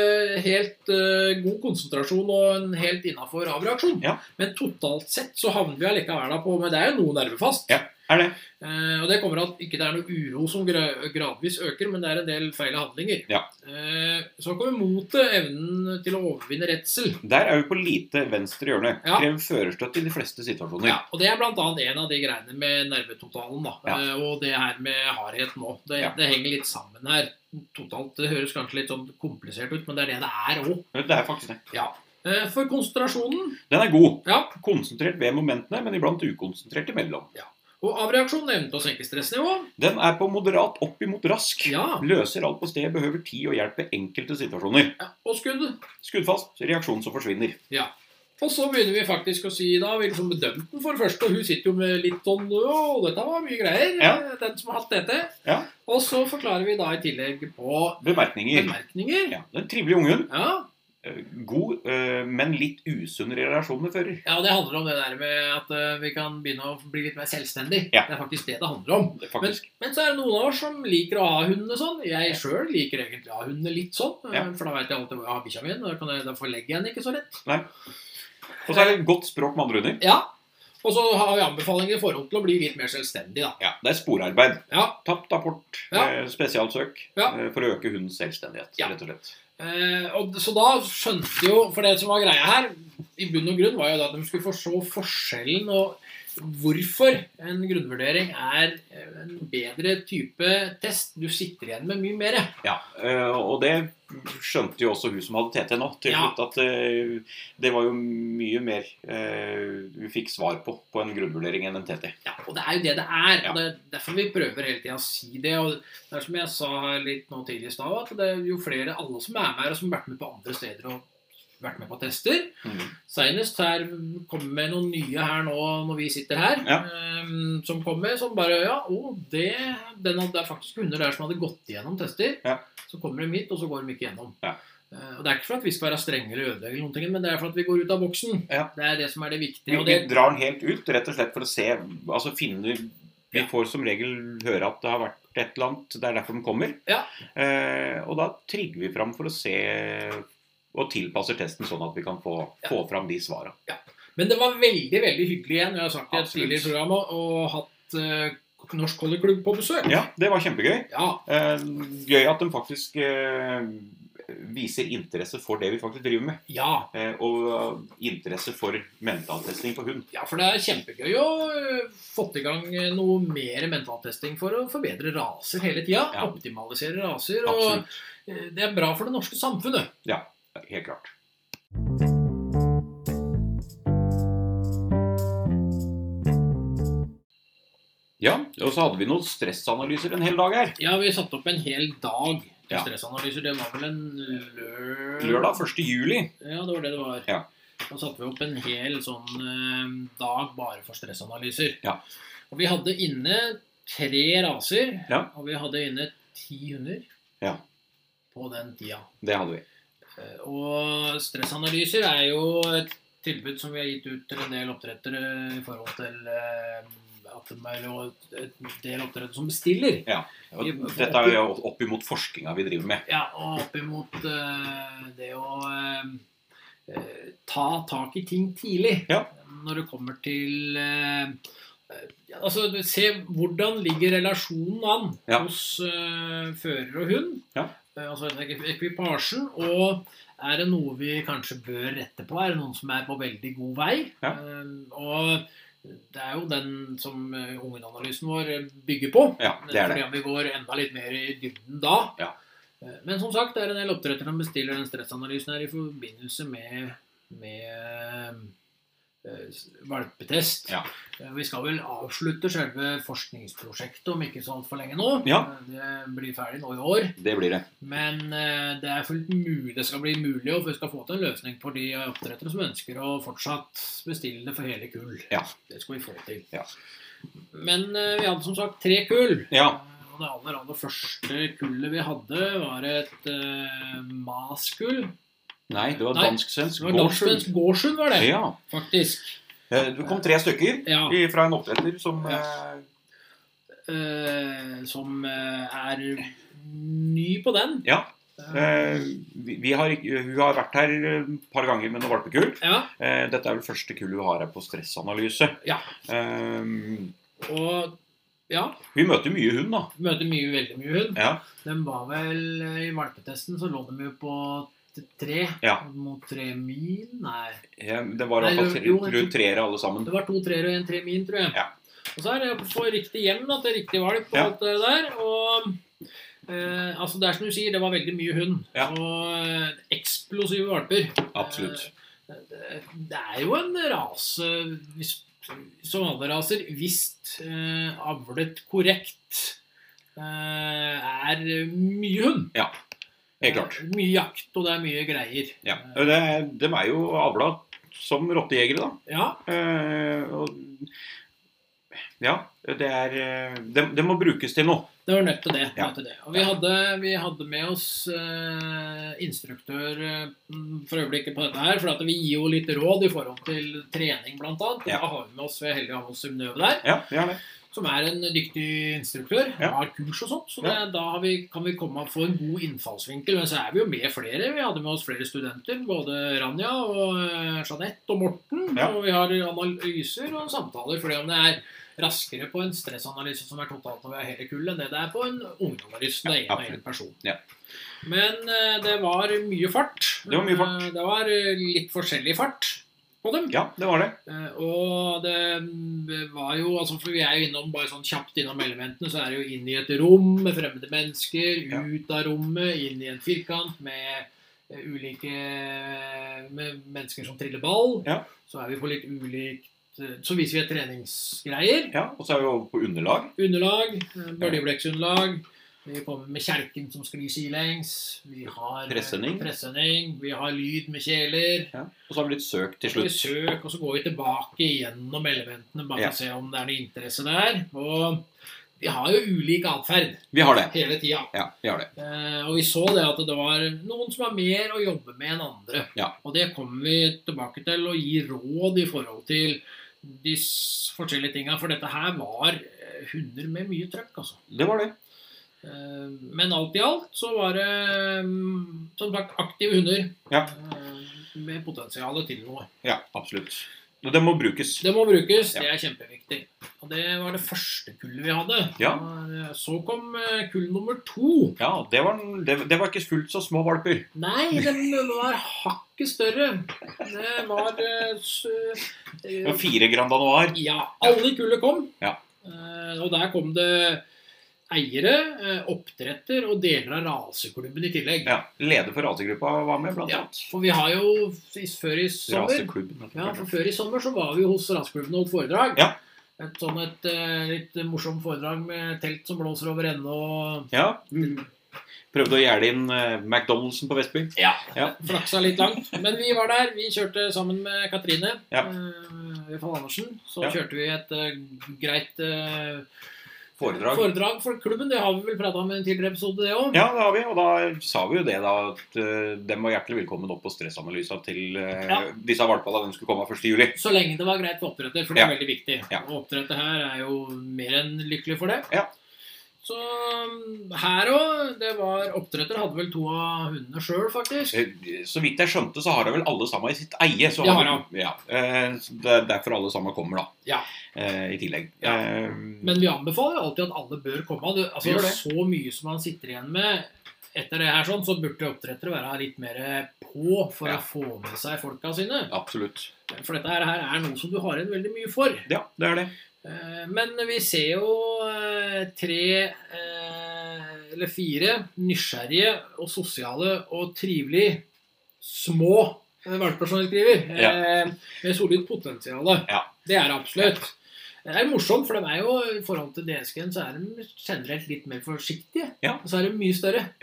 Speaker 2: helt eh, god konsentrasjon og en helt innafor avreaksjon.
Speaker 1: Ja.
Speaker 2: Men totalt sett så havner vi allikevel da på Men det er jo noe nervefast.
Speaker 1: Ja. Er det?
Speaker 2: Eh, og det kommer av at ikke det er noe uro som gra- gradvis øker, men det er en del feil handlinger.
Speaker 1: Ja.
Speaker 2: Eh, så kommer motet, evnen til å overvinne redsel.
Speaker 1: Der er vi på lite venstre hjørne.
Speaker 2: Ja.
Speaker 1: Krever førerstøtte i de fleste situasjoner.
Speaker 2: Ja, og Det er bl.a. en av de greiene med nervetotalen. da,
Speaker 1: Ja.
Speaker 2: Eh, Og det her med hardhet nå. Det,
Speaker 1: Ja.
Speaker 2: det henger litt sammen her. Totalt, Det høres kanskje litt sånn komplisert ut, men det er det det er òg.
Speaker 1: Det er faktisk det.
Speaker 2: Ja. Eh, For konsentrasjonen
Speaker 1: Den er god.
Speaker 2: ja,
Speaker 1: Konsentrert ved momentene, men iblant ukonsentrert imellom.
Speaker 2: og avreaksjonen evnen til å senke stressnivå.
Speaker 1: Den er på moderat opp imot rask.
Speaker 2: Ja,
Speaker 1: Løser alt på stedet, behøver tid og hjelp ved enkelte situasjoner.
Speaker 2: ja, Og skudd.
Speaker 1: Skuddfast, reaksjon som forsvinner.
Speaker 2: Og så begynner vi faktisk å si da, vi liksom bedømte den for det første, og hun sitter jo med litt sånn og dette var mye greier,
Speaker 1: Ja.
Speaker 2: den som har hatt dette.
Speaker 1: Ja.
Speaker 2: Og så forklarer vi da i tillegg på
Speaker 1: Bemerkninger.
Speaker 2: bemerkninger.
Speaker 1: Ja, Den trivelige ungen.
Speaker 2: Ja,
Speaker 1: eh, God, eh, men litt usunn relasjon med fører.
Speaker 2: ja, det handler om det der med at eh, vi kan begynne å bli litt mer selvstendig.
Speaker 1: Ja.
Speaker 2: Det er faktisk det det handler om.
Speaker 1: Det er Faktisk.
Speaker 2: Men så er det noen av oss som liker å ha hundene sånn. Jeg sjøl liker egentlig å ha hundene litt sånn. eh,
Speaker 1: Ja.
Speaker 2: For da veit jeg alltid hvor jeg har bikkja mi. Da, kan jeg- da forlegger jeg den ikke så lett.
Speaker 1: Og så er
Speaker 2: eh,
Speaker 1: det godt språk med andre hunder.
Speaker 2: Ja. Og så har vi anbefalinger i forhold til å bli litt mer selvstendig, da.
Speaker 1: Ja, det er sporarbeid.
Speaker 2: Ja.
Speaker 1: Tapt rapport,
Speaker 2: Ja.
Speaker 1: eh, spesialsøk
Speaker 2: Ja.
Speaker 1: eh, for å øke hundens selvstendighet,
Speaker 2: Ja.
Speaker 1: rett og slett.
Speaker 2: Eh, og, så da skjønte jo For det som var greia her, i bunn og grunn, var jo da at de skulle forstå forskjellen og hvorfor en grunnvurdering er eh, en bedre type test. Du sitter igjen med mye mer.
Speaker 1: Ja, eh, og det skjønte jo også hun som hadde TT nå, til
Speaker 2: Ja.
Speaker 1: slutt, at eh, det var jo mye mer eh, hun fikk svar på på en grunnvurdering enn en TT.
Speaker 2: Ja, og det er jo det det er.
Speaker 1: Ja.
Speaker 2: og Det er derfor vi prøver hele tida å si det. og Det er som jeg sa her litt nå tidlig i stad, at det er jo flere, alle som er med her, og som har vært med på andre steder og vært med på tester.
Speaker 1: Mm.
Speaker 2: Seinest her kommer med noen nye her nå når vi sitter her.
Speaker 1: Ja.
Speaker 2: ehm, som kommer som bare Ja, å, det, den, det er faktisk hunder der som hadde gått igjennom tester.
Speaker 1: Ja.
Speaker 2: Så kommer de hit, og så går de ikke gjennom.
Speaker 1: Ja.
Speaker 2: Eh, og Det er ikke for at vi skal være strenge eller ødelegge, eller noen ting, men det er for at vi går ut av boksen.
Speaker 1: Ja.
Speaker 2: Det er det som er det
Speaker 1: Vi,
Speaker 2: viktige. Og
Speaker 1: vi
Speaker 2: det,
Speaker 1: drar den helt ut, rett og slett for å se Altså finne Vi
Speaker 2: Ja.
Speaker 1: får som regel høre at det har vært et eller annet, det er derfor den kommer.
Speaker 2: Ja.
Speaker 1: Eh, og da trigger vi fram for å se og tilpasser testen sånn at vi kan få,
Speaker 2: Ja.
Speaker 1: få fram de svara.
Speaker 2: Men det var veldig veldig hyggelig igjen. Jeg har sagt det i et
Speaker 1: Absolutt.
Speaker 2: tidligere program og, og hatt eh, Norsk Kolleklubb på besøk.
Speaker 1: Ja, det var kjempegøy.
Speaker 2: Ja,
Speaker 1: Eh, gøy at de faktisk eh, viser interesse for det vi faktisk driver med.
Speaker 2: ja,
Speaker 1: Eh, og interesse for mentaltesting på hund.
Speaker 2: ja, for det er kjempegøy å eh, fått i gang eh, noe mer mentaltesting for å forbedre raser hele tida.
Speaker 1: Ja.
Speaker 2: Optimalisere raser. Og
Speaker 1: Absolutt.
Speaker 2: eh, det er bra for det norske samfunnet.
Speaker 1: Helt klart. Ja, og så hadde vi noen stressanalyser en hel dag her.
Speaker 2: Ja, vi satte opp en hel dag til
Speaker 1: Ja.
Speaker 2: stressanalyser. Det var vel en lør...
Speaker 1: Lørdag 1. juli.
Speaker 2: Ja, det var det det var.
Speaker 1: Ja.
Speaker 2: Da satte vi opp en hel sånn eh, dag bare for stressanalyser.
Speaker 1: Ja.
Speaker 2: Og vi hadde inne tre raser,
Speaker 1: Ja.
Speaker 2: og vi hadde inne ti hunder
Speaker 1: Ja.
Speaker 2: på den tida.
Speaker 1: Det hadde vi.
Speaker 2: Eh, Og stressanalyser er jo et tilbud som vi har gitt ut til en del oppdrettere i forhold til eh, at de er jo en del oppdrettere som bestiller.
Speaker 1: Og dette er jo opp imot forskninga vi driver med.
Speaker 2: Ja, og oppimot eh, det å eh, eh, ta tak i ting tidlig.
Speaker 1: Ja.
Speaker 2: Når det kommer til eh, eh, ja, Altså, du- se hvordan ligger relasjonen an
Speaker 1: Ja.
Speaker 2: hos eh, fører og hund.
Speaker 1: Ja.
Speaker 2: Eh, altså ekvipasjen. Og er det noe vi kanskje bør rette på? Er det noen som er på veldig god vei?
Speaker 1: Ja.
Speaker 2: Eh, og det er jo den som eh, ungenanalysen vår bygger på.
Speaker 1: Ja, det er det.
Speaker 2: Fordi om vi går enda litt mer i dybden da.
Speaker 1: Ja.
Speaker 2: Eh, Men som sagt, det er en del oppdrettere som bestiller den stressanalysen her i forbindelse med, med eh, s- valpetest.
Speaker 1: Ja.
Speaker 2: Eh, Vi skal vel avslutte selve forskningsprosjektet om ikke så altfor lenge nå.
Speaker 1: Ja.
Speaker 2: Eh, Det blir ferdig nå i år.
Speaker 1: Det blir det.
Speaker 2: Men eh, det er fullt mulig, det skal bli mulig, og vi skal få til en løsning for de oppdrettere som ønsker å fortsatt bestille det for hele kull.
Speaker 1: Ja.
Speaker 2: Det skal vi få til.
Speaker 1: Ja.
Speaker 2: Men eh, vi hadde som sagt tre kull.
Speaker 1: Ja.
Speaker 2: Eh, Og det aller, aller første kullet vi hadde, var et uh, maskull.
Speaker 1: Nei, det var
Speaker 2: Nei, Det
Speaker 1: dansk-svensk
Speaker 2: var danskvensk Gårdshund, var det,
Speaker 1: Ja.
Speaker 2: faktisk.
Speaker 1: Eh, Det kom tre stykker
Speaker 2: Ja.
Speaker 1: i- fra en oppdretter som eh,
Speaker 2: eh, som eh, er ny på den.
Speaker 1: Ja. eh,
Speaker 2: Eh,
Speaker 1: vi, vi har, ikke- Hun har vært her eh, et par ganger med noen valpekull.
Speaker 2: ja.
Speaker 1: Eh, Dette er vel første kullet vi har her på stressanalyse.
Speaker 2: Ja.
Speaker 1: Eh,
Speaker 2: Og ja,
Speaker 1: vi møter mye hund, da.
Speaker 2: møter mye, veldig mye hund.
Speaker 1: Ja.
Speaker 2: Den var vel eh, I valpetesten så lå de jo på t- tre.
Speaker 1: Ja.
Speaker 2: Mot tre min? Nei.
Speaker 1: Ja, Det var i
Speaker 2: Nei,
Speaker 1: hvert fall
Speaker 2: jo,
Speaker 1: tre-
Speaker 2: jeg
Speaker 1: rundt
Speaker 2: tror-
Speaker 1: treere alle sammen.
Speaker 2: Det var to treere og en tremin, tror jeg.
Speaker 1: Ja.
Speaker 2: Og så er det å få riktig hjem da, til riktig valp og
Speaker 1: Ja.
Speaker 2: alt det der. Og eh, altså det er som du sier, det var veldig mye hund.
Speaker 1: Ja.
Speaker 2: Og eh, eksplosive valper.
Speaker 1: Absolutt.
Speaker 2: Eh, det- det er jo en rase hvis, som alle raser, hvis eh, avlet korrekt, eh, er mye hund. Eh,
Speaker 1: Helt klart. Eh,
Speaker 2: Mye jakt, og det er mye greier. Eh,
Speaker 1: Ja. Det, de er jo avla som rottejegere, da.
Speaker 2: Ja,
Speaker 1: Eh, og, ja, det er eh, det, det må brukes til noe.
Speaker 2: det var nødt til det.
Speaker 1: Ja.
Speaker 2: Nødt til det. Og vi hadde, vi hadde med oss eh, instruktør eh, for øyeblikket på dette her, for at vi gir jo litt råd i forhold til trening, blant annet. Og
Speaker 1: Ja.
Speaker 2: Da har vi med oss vi er heldige å ha med oss Synnøve der.
Speaker 1: Ja, vi har det.
Speaker 2: som er en dyktig instruktør.
Speaker 1: Ja.
Speaker 2: Har kurs og sånt. Så det, da har vi, kan vi komme og få en god innfallsvinkel. Men så er vi jo med flere. Vi hadde med oss flere studenter. Både Ranja og eh, Jeanette og Morten.
Speaker 1: Ja.
Speaker 2: Og vi har analyser og samtaler. Fordi om det er raskere på en stressanalyse som er totalt når vi er hele kull, enn det det er på en ungdomsanalyse. Det er
Speaker 1: Ja,
Speaker 2: en og en
Speaker 1: absolutt.
Speaker 2: person.
Speaker 1: Ja.
Speaker 2: Men eh, det var mye fart.
Speaker 1: Det var mye fart.
Speaker 2: Eh, Det var eh, litt forskjellig fart på dem.
Speaker 1: Ja, det var det.
Speaker 2: Eh, Og det mm, var jo altså For vi er jo innom bare sånn kjapt innom elementene, så er det jo inn i et rom med fremmede mennesker,
Speaker 1: Ja.
Speaker 2: ut av rommet, inn i en firkant med eh, ulike eh, med mennesker som triller ball.
Speaker 1: Ja.
Speaker 2: Så er vi på litt ulikt eh, Så viser vi et treningsgreier.
Speaker 1: Ja, Og så er vi over på underlag.
Speaker 2: Underlag. eh, Bølgeblekksunderlag. Vi kommer med kjelken som sklir sidelengs. Vi har eh,
Speaker 1: Presenning.
Speaker 2: presenning. Vi har lyd med kjeler.
Speaker 1: Ja. Og så har vi litt søk til
Speaker 2: Vi
Speaker 1: slutt.
Speaker 2: søk, og så går vi tilbake gjennom elementene bare
Speaker 1: Ja.
Speaker 2: for å se om det er noe interesse der. Og vi har jo ulik atferd
Speaker 1: Vi har det.
Speaker 2: hele tida.
Speaker 1: Ja, vi har det.
Speaker 2: Eh, og vi så det at det var noen som har mer å jobbe med enn andre.
Speaker 1: Ja.
Speaker 2: Og det kommer vi tilbake til å gi råd i forhold til de s- forskjellige tinga. For dette her var eh, hunder med mye trøkk, altså.
Speaker 1: Det var det.
Speaker 2: Eh, Men alt i alt så var det mm, som sagt aktive hunder
Speaker 1: Ja.
Speaker 2: eh, med potensial til noe.
Speaker 1: Ja, absolutt. Og det må brukes.
Speaker 2: Det må brukes,
Speaker 1: Ja.
Speaker 2: det er kjempeviktig. Og det var det første kullet vi hadde.
Speaker 1: Ja.
Speaker 2: Og, eh, Så kom eh, kull nummer to.
Speaker 1: Ja, det var, det, det var ikke fullt så små valper.
Speaker 2: Nei, den var hakket større. Det var eh, s- eh,
Speaker 1: Det var fire Grand Anoir.
Speaker 2: Ja, alle i kullet kom.
Speaker 1: Ja.
Speaker 2: Eh, Og der kom det eiere, eh, oppdretter og deler av raseklubben i tillegg.
Speaker 1: Ja, Leder for rasegruppa var med, blant
Speaker 2: Ja,
Speaker 1: annet.
Speaker 2: For vi har jo i- før i sommer
Speaker 1: Raseklubben. heter det
Speaker 2: Ja,
Speaker 1: kanskje.
Speaker 2: for Før i sommer så var vi jo hos Rasklubben og holdt foredrag.
Speaker 1: Ja.
Speaker 2: Et sånn et eh, litt morsomt foredrag med telt som blåser over ende og
Speaker 1: ja. mm. Prøvde å gjerde inn eh, McDonald'sen på Vestby.
Speaker 2: ja.
Speaker 1: Ja.
Speaker 2: flaksa litt langt. Men vi var der. Vi kjørte sammen med Katrine
Speaker 1: Ja.
Speaker 2: eh, Øyfald Andersen. Så
Speaker 1: Ja.
Speaker 2: kjørte vi et eh, greit eh,
Speaker 1: Foredrag.
Speaker 2: foredrag for klubben. Det har vi vel prata om i en tidligere episode, det òg.
Speaker 1: Ja, det har vi. Og da sa vi jo det, da, at eh, dem var hjertelig velkommen opp på stressanalysa til eh,
Speaker 2: Ja.
Speaker 1: disse valpene da de skulle komme 1. juli.
Speaker 2: Så lenge det var greit for oppdretter, for det
Speaker 1: Ja.
Speaker 2: er veldig viktig.
Speaker 1: Ja.
Speaker 2: Og oppdretter her er jo mer enn lykkelig for det.
Speaker 1: Ja.
Speaker 2: Så um, her òg Det var oppdretter hadde vel to av hundene sjøl, faktisk.
Speaker 1: Eh, Så vidt jeg skjønte, så har de vel alle sammen i sitt eie. Så
Speaker 2: Det har
Speaker 1: de. Ja, eh, så det er derfor alle sammen kommer, da.
Speaker 2: Ja.
Speaker 1: Eh, I tillegg.
Speaker 2: Ja.
Speaker 1: Eh,
Speaker 2: Men vi anbefaler jo alltid at alle bør komme. Det-
Speaker 1: Vi gjør
Speaker 2: Altså,
Speaker 1: det.
Speaker 2: så mye som man sitter igjen med etter det her, sånn, så burde oppdrettere være litt mer på for
Speaker 1: Ja.
Speaker 2: å få med seg folka sine.
Speaker 1: Absolutt.
Speaker 2: For dette her er noe som du har igjen veldig mye for.
Speaker 1: Ja, det er det.
Speaker 2: Eh, Men vi ser jo eh, tre eh, eller fire nysgjerrige og sosiale og trivelige små eh, valper som de skriver.
Speaker 1: Ja.
Speaker 2: eh, Med solid potensial.
Speaker 1: Ja.
Speaker 2: Det er det absolutt. Det er morsomt, for de er jo, i forhold til DSG-en så er de generelt litt mer forsiktige.
Speaker 1: Ja.
Speaker 2: Og så er de mye større.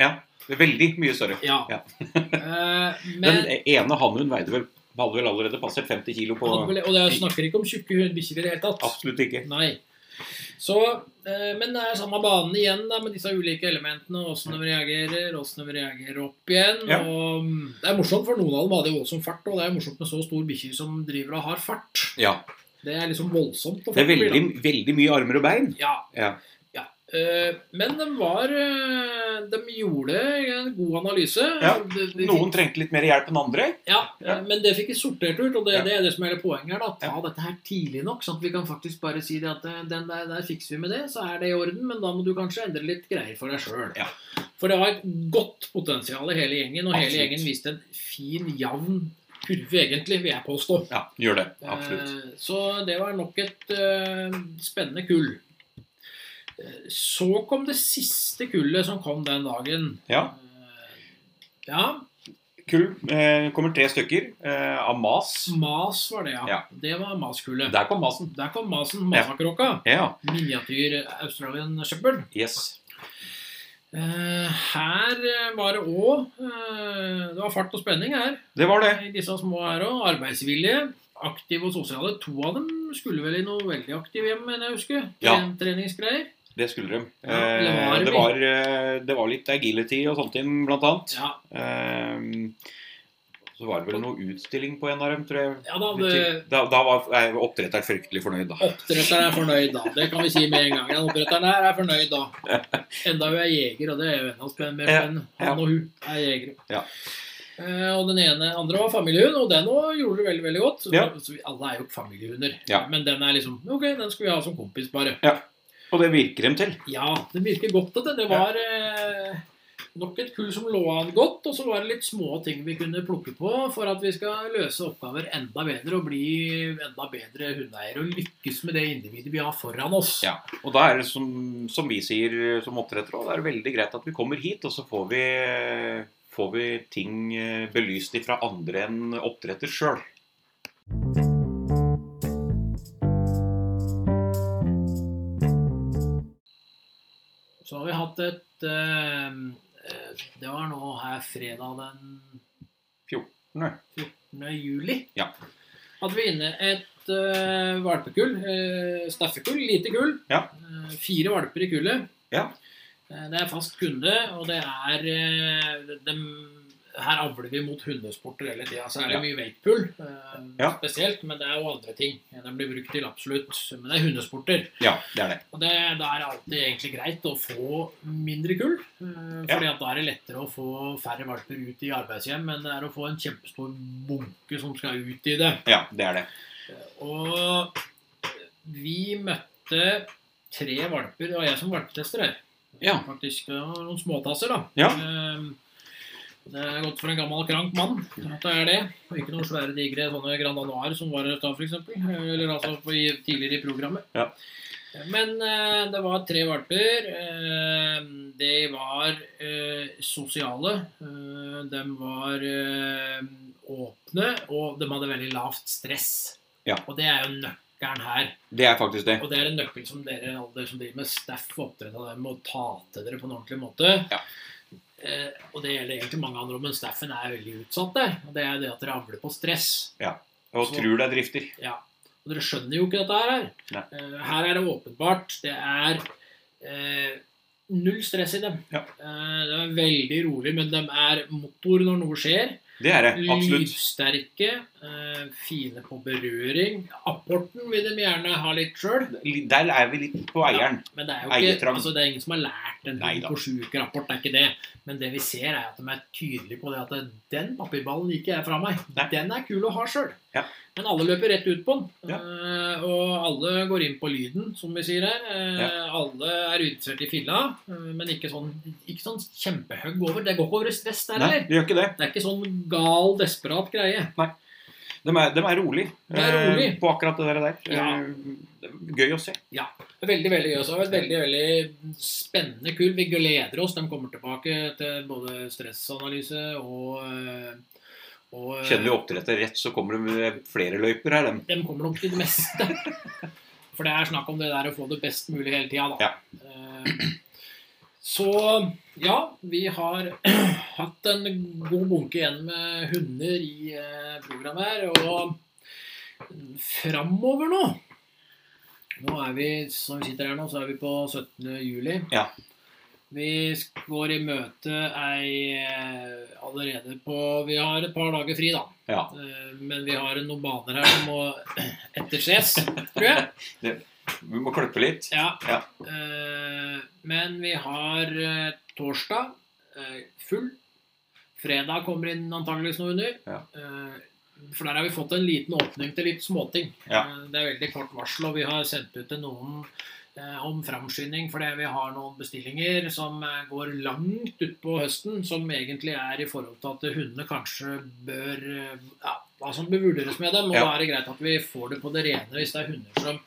Speaker 1: Veldig mye større.
Speaker 2: Ja.
Speaker 1: Ja.
Speaker 2: Eh, Men,
Speaker 1: Den ene hannhunden veide vel hadde vel allerede passert 50 kilo på
Speaker 2: hadde vel- Og jeg snakker ikke om tjukke hund- bikkjer i det hele tatt.
Speaker 1: Absolutt ikke.
Speaker 2: Nei. Så, eh, men det er samme banen igjen da, med disse ulike elementene. Åssen de reagerer, åssen de reagerer opp igjen.
Speaker 1: Ja.
Speaker 2: Og mm, det er morsomt, for noen av dem hadde jo voldsom fart. Og det er morsomt med så stor bikkje som driver og har fart.
Speaker 1: Ja.
Speaker 2: Det er liksom voldsomt. å
Speaker 1: Det er
Speaker 2: farte,
Speaker 1: veldig, veldig mye armer og bein.
Speaker 2: da. Ja.
Speaker 1: Ja.
Speaker 2: Ja. Eh, Men de var eh, De gjorde en god analyse.
Speaker 1: Ja.
Speaker 2: De- de
Speaker 1: Noen trengte litt mer hjelp enn andre.
Speaker 2: ja,
Speaker 1: Ja.
Speaker 2: men det fikk vi sortert ut, og det,
Speaker 1: Ja.
Speaker 2: det er det som er hele poenget her. da, Ta dette her tidlig nok, sånn at vi kan faktisk bare si det at eh, den der, der fikser vi med det, så er det i orden, men da må du kanskje endre litt greier for deg sjøl.
Speaker 1: Ja.
Speaker 2: For det var et godt potensial i hele gjengen, og hele
Speaker 1: Absolutt.
Speaker 2: gjengen viste en fin, jevn kurve, egentlig, vil jeg påstå.
Speaker 1: Ja, gjør det. Absolutt.
Speaker 2: Eh, Så det var nok et eh, spennende kull. Eh, Så kom det siste kullet som kom den dagen.
Speaker 1: Ja.
Speaker 2: Eh, Ja,
Speaker 1: Kull. Eh, kommer tre stykker eh, av mas.
Speaker 2: Mas var det, ja.
Speaker 1: Ja.
Speaker 2: Det var Mas-kullet.
Speaker 1: Der kom masen.
Speaker 2: Der kom masen, masakråka.
Speaker 1: Ja.
Speaker 2: Miniatyr Australian Shepherd.
Speaker 1: Yes.
Speaker 2: Eh, Her eh, var det òg Det var fart og spenning her.
Speaker 1: Det var det.
Speaker 2: I disse små her òg. Arbeidsvilje. Aktive og sosiale. To av dem skulle vel i noe veldig aktiv hjem, mener jeg å huske.
Speaker 1: Ja.
Speaker 2: Tren- Treningsgreier.
Speaker 1: Det skulle de.
Speaker 2: Ja, eller
Speaker 1: Eh,
Speaker 2: var vi?
Speaker 1: det, var, eh, det var litt agility og sånt inn, blant annet.
Speaker 2: Ja,
Speaker 1: Eh, så var det vel noe utstilling på en av dem, tror jeg.
Speaker 2: ja da,
Speaker 1: Litt
Speaker 2: det,
Speaker 1: til. Da, da var nei, oppdretteren fryktelig fornøyd, da.
Speaker 2: oppdretteren er fornøyd, da. Det kan vi si med en gang. Den oppdretteren her er fornøyd, da. Enda hun er jeger, og det er jo enda spennende. Men
Speaker 1: Ja, ja.
Speaker 2: han og hun er jegere.
Speaker 1: Ja.
Speaker 2: Eh, og den ene andre var familiehund, og den òg gjorde det veldig veldig godt.
Speaker 1: Ja.
Speaker 2: Så vi, alle er jo familiehunder.
Speaker 1: Ja.
Speaker 2: Men den er liksom Ok, den skal vi ha som kompis, bare.
Speaker 1: Og det virker dem til.
Speaker 2: Ja, det virker godt at det. Det var eh, nok et kull som lå an godt, og så var det litt små ting vi kunne plukke på for at vi skal løse oppgaver enda bedre og bli enda bedre hundeeiere og lykkes med det individet vi har foran oss.
Speaker 1: Ja. Og da er det som, som vi sier som oppdrettere, da er det veldig greit at vi kommer hit, og så får vi, får vi ting eh, belyst ifra andre enn oppdretter sjøl.
Speaker 2: Så har vi hatt et eh, eh, Det var nå her fredag den 14. juli.
Speaker 1: Ja.
Speaker 2: Hadde vi inne et eh, valpekull. eh, Staffekull. Lite kull.
Speaker 1: Ja.
Speaker 2: Eh, fire valper i kullet.
Speaker 1: Ja.
Speaker 2: Eh, det er fast kunde, og det er eh, dem- Her avler vi mot hundesporter hele tida. Så er det
Speaker 1: Ja.
Speaker 2: mye weightpull eh,
Speaker 1: Ja.
Speaker 2: spesielt, men det er jo andre ting. Den blir brukt til absolutt. Men det er hundesporter.
Speaker 1: Ja, det er det.
Speaker 2: Og det, da er det alltid egentlig greit å få mindre kull. eh, Fordi at da er det lettere å få færre valper ut i arbeidshjem enn det er å få en kjempestor bunke som skal ut i det.
Speaker 1: Ja, det er det.
Speaker 2: Og vi møtte tre valper. Det var jeg som valpetester her.
Speaker 1: Ja.
Speaker 2: Faktisk det var noen småtasser, da.
Speaker 1: Ja.
Speaker 2: Ehm, Det er godt for en gammel krank mann. at Det er det. Og ikke noen svære, digre sånne Grand Anoir som var her da, f.eks. Eller altså på, i, tidligere i programmet.
Speaker 1: Ja.
Speaker 2: Men eh, det var tre valper. Ehm, de var eh, sosiale. Eh, de var eh, åpne, og de hadde veldig lavt stress.
Speaker 1: Ja.
Speaker 2: Og det er jo nøkkelen her.
Speaker 1: Det er faktisk det.
Speaker 2: Og det er en nøkkel som dere, alle dere som driver med staff og oppdrett av dem, må ta til dere på en ordentlig måte.
Speaker 1: Ja.
Speaker 2: Eh, og det gjelder egentlig mange andre, men staffen er veldig utsatt der. Og det er det at dere avler på stress.
Speaker 1: Og tror det er drifter.
Speaker 2: Ja. Og dere skjønner jo ikke dette her.
Speaker 1: Nei.
Speaker 2: Eh, her er det åpenbart. Det er eh, null stress i dem.
Speaker 1: Ja.
Speaker 2: Eh, de er veldig rolig, men de er motor når noe skjer.
Speaker 1: Det er det. Absolutt.
Speaker 2: Lydsterke, eh, fine på berøring. Apporten vil de gjerne ha litt sjøl.
Speaker 1: Der er vi litt på eieren.
Speaker 2: Men det er jo ikke,
Speaker 1: Eiertrang.
Speaker 2: altså det er ingen som har lært en
Speaker 1: Neida.
Speaker 2: på sjuk-rapport, det er ikke det. Men det vi ser, er at de er tydelige på det at den papirballen liker jeg fra meg.
Speaker 1: Nei.
Speaker 2: Den er kul å ha sjøl.
Speaker 1: Ja.
Speaker 2: Men alle løper rett ut på den.
Speaker 1: Ja.
Speaker 2: Eh, og alle går inn på lyden, som vi sier her. Eh, Alle er utsert i filla, eh, men ikke sånn, ikke sånn kjempehugg over. Det går ikke over i stress der
Speaker 1: Nei,
Speaker 2: heller.
Speaker 1: det gjør ikke det.
Speaker 2: Det er ikke sånn gal, desperat greie.
Speaker 1: De er, de er rolig.
Speaker 2: De er rolig.
Speaker 1: Eh, på akkurat det der. der.
Speaker 2: Ja.
Speaker 1: Eh, det er Gøy å se.
Speaker 2: Veldig veldig gøy. og Så har vi et veldig veldig spennende kull. Vi gleder oss. De kommer tilbake til både stressanalyse og, eh, og eh,
Speaker 1: Kjenner vi oppdretter rett, så kommer det med flere løyper her, dem.
Speaker 2: De kommer nok til det meste. For det er snakk om det der å få det best mulig hele tida, da. Eh, Så ja, vi har hatt en god bunke igjen med hunder i eh, programmet her. Og framover nå Nå er vi, som vi sitter her nå, så er vi på 17. juli.
Speaker 1: Ja.
Speaker 2: Vi går i møte ei eh, allerede på Vi har et par dager fri, da.
Speaker 1: Ja.
Speaker 2: Eh, Men vi har noen baner her som må etterses, tror jeg.
Speaker 1: Vi må klippe litt.
Speaker 2: Ja.
Speaker 1: Ja.
Speaker 2: Eh, Men vi har eh, torsdag eh, full. Fredag kommer inn antakeligvis noe under.
Speaker 1: Ja.
Speaker 2: Eh, For der har vi fått en liten åpning til litt småting.
Speaker 1: Ja.
Speaker 2: Eh, Det er veldig kort varsel, og vi har sendt ut til noen eh, om framskynding fordi vi har noen bestillinger som eh, går langt utpå høsten, som egentlig er i forhold til at hundene kanskje bør eh, ja, hva som bør vurderes med dem. Og
Speaker 1: Ja.
Speaker 2: da er det greit at vi får det på det rene hvis det er hunder som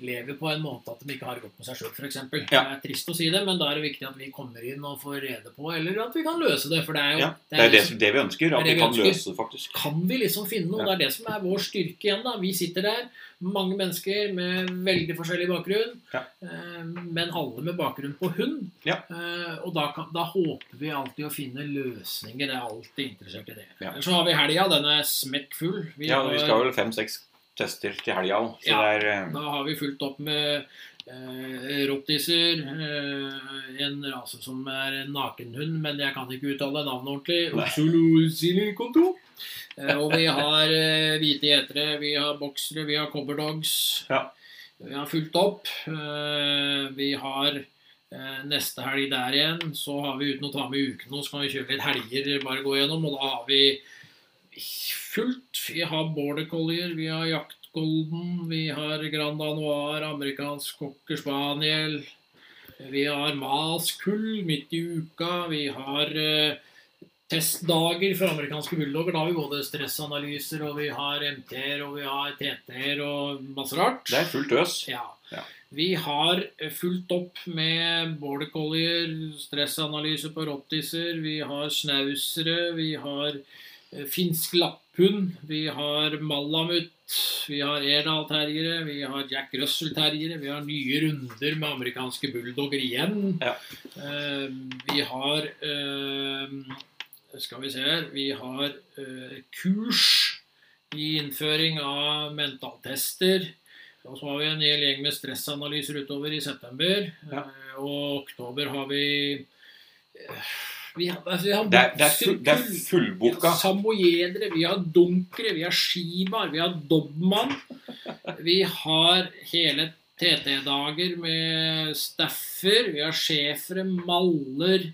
Speaker 2: lever på en måte at de ikke har det godt med seg sjøl, f.eks. Det
Speaker 1: Ja.
Speaker 2: er trist å si det, men da er det viktig at vi kommer inn og får rede på, eller at vi kan løse det. For det er jo
Speaker 1: Ja, det er jo det,
Speaker 2: liksom-
Speaker 1: som- det vi ønsker. At
Speaker 2: det er det
Speaker 1: vi
Speaker 2: vi
Speaker 1: kan
Speaker 2: ønsker.
Speaker 1: løse det, faktisk.
Speaker 2: kan vi liksom finne noe?
Speaker 1: Ja.
Speaker 2: Det er det som er vår styrke igjen. da. Vi sitter der, mange mennesker med veldig forskjellig bakgrunn,
Speaker 1: Ja.
Speaker 2: eh, men alle med bakgrunn på hund.
Speaker 1: Ja.
Speaker 2: Eh, og da, kan, da håper vi alltid å finne løsninger. Jeg er alltid interessert i det.
Speaker 1: Ja.
Speaker 2: Ellers Så har vi helga, den er smekkfull. Vi
Speaker 1: Ja,
Speaker 2: har-
Speaker 1: Vi skal vel fem-seks tester til helga òg, så
Speaker 2: Ja.
Speaker 1: det er eh,
Speaker 2: da har vi fulgt opp med eh, rottiser, eh, en rase som er en nakenhund, men jeg kan ikke uttale navnet ordentlig.
Speaker 1: Nei.
Speaker 2: Oxolosilikonto. Eh, og vi har eh, hvite gjetere, vi har boksere, vi har cobberdogs.
Speaker 1: Ja.
Speaker 2: Vi har fulgt opp. Eh, vi har eh, neste helg der igjen. Så har vi uten å ta med ukene, så kan vi kjøre litt helger, bare gå gjennom. Og da har vi fullt. Vi har border collier, vi har jaktgolden, vi har grand anoir, amerikansk cocker spaniel. Vi har maskull midt i uka. Vi har eh, testdager for amerikanske bulldogger. Da har vi både stressanalyser, og vi har MT-er, og vi har TT-er, og masse rart.
Speaker 1: Det er fullt øs.
Speaker 2: Ja.
Speaker 1: Ja.
Speaker 2: Vi har eh, fulgt opp med border collier, stressanalyse på rottiser, vi har snausere, vi har eh, finsk lapphund, vi har malamut, vi har Erdal-terriere, vi har Jack Russell-terriere, vi har nye runder med amerikanske bulldogger igjen.
Speaker 1: Ja.
Speaker 2: Eh, vi har eh, Skal vi se her Vi har eh, kurs i innføring av mentaltester. Og så har vi en hel gjeng med stressanalyser utover i september.
Speaker 1: Ja.
Speaker 2: Eh, Og oktober har vi eh, Vi har, altså, vi har
Speaker 1: Det er, det er, full, det er
Speaker 2: bokser, vi
Speaker 1: fullboka.
Speaker 2: har samojedere, vi har dunkere, vi har shimaer, vi har dobman. Vi har hele TT-dager med staffer, vi har schæfere, maller,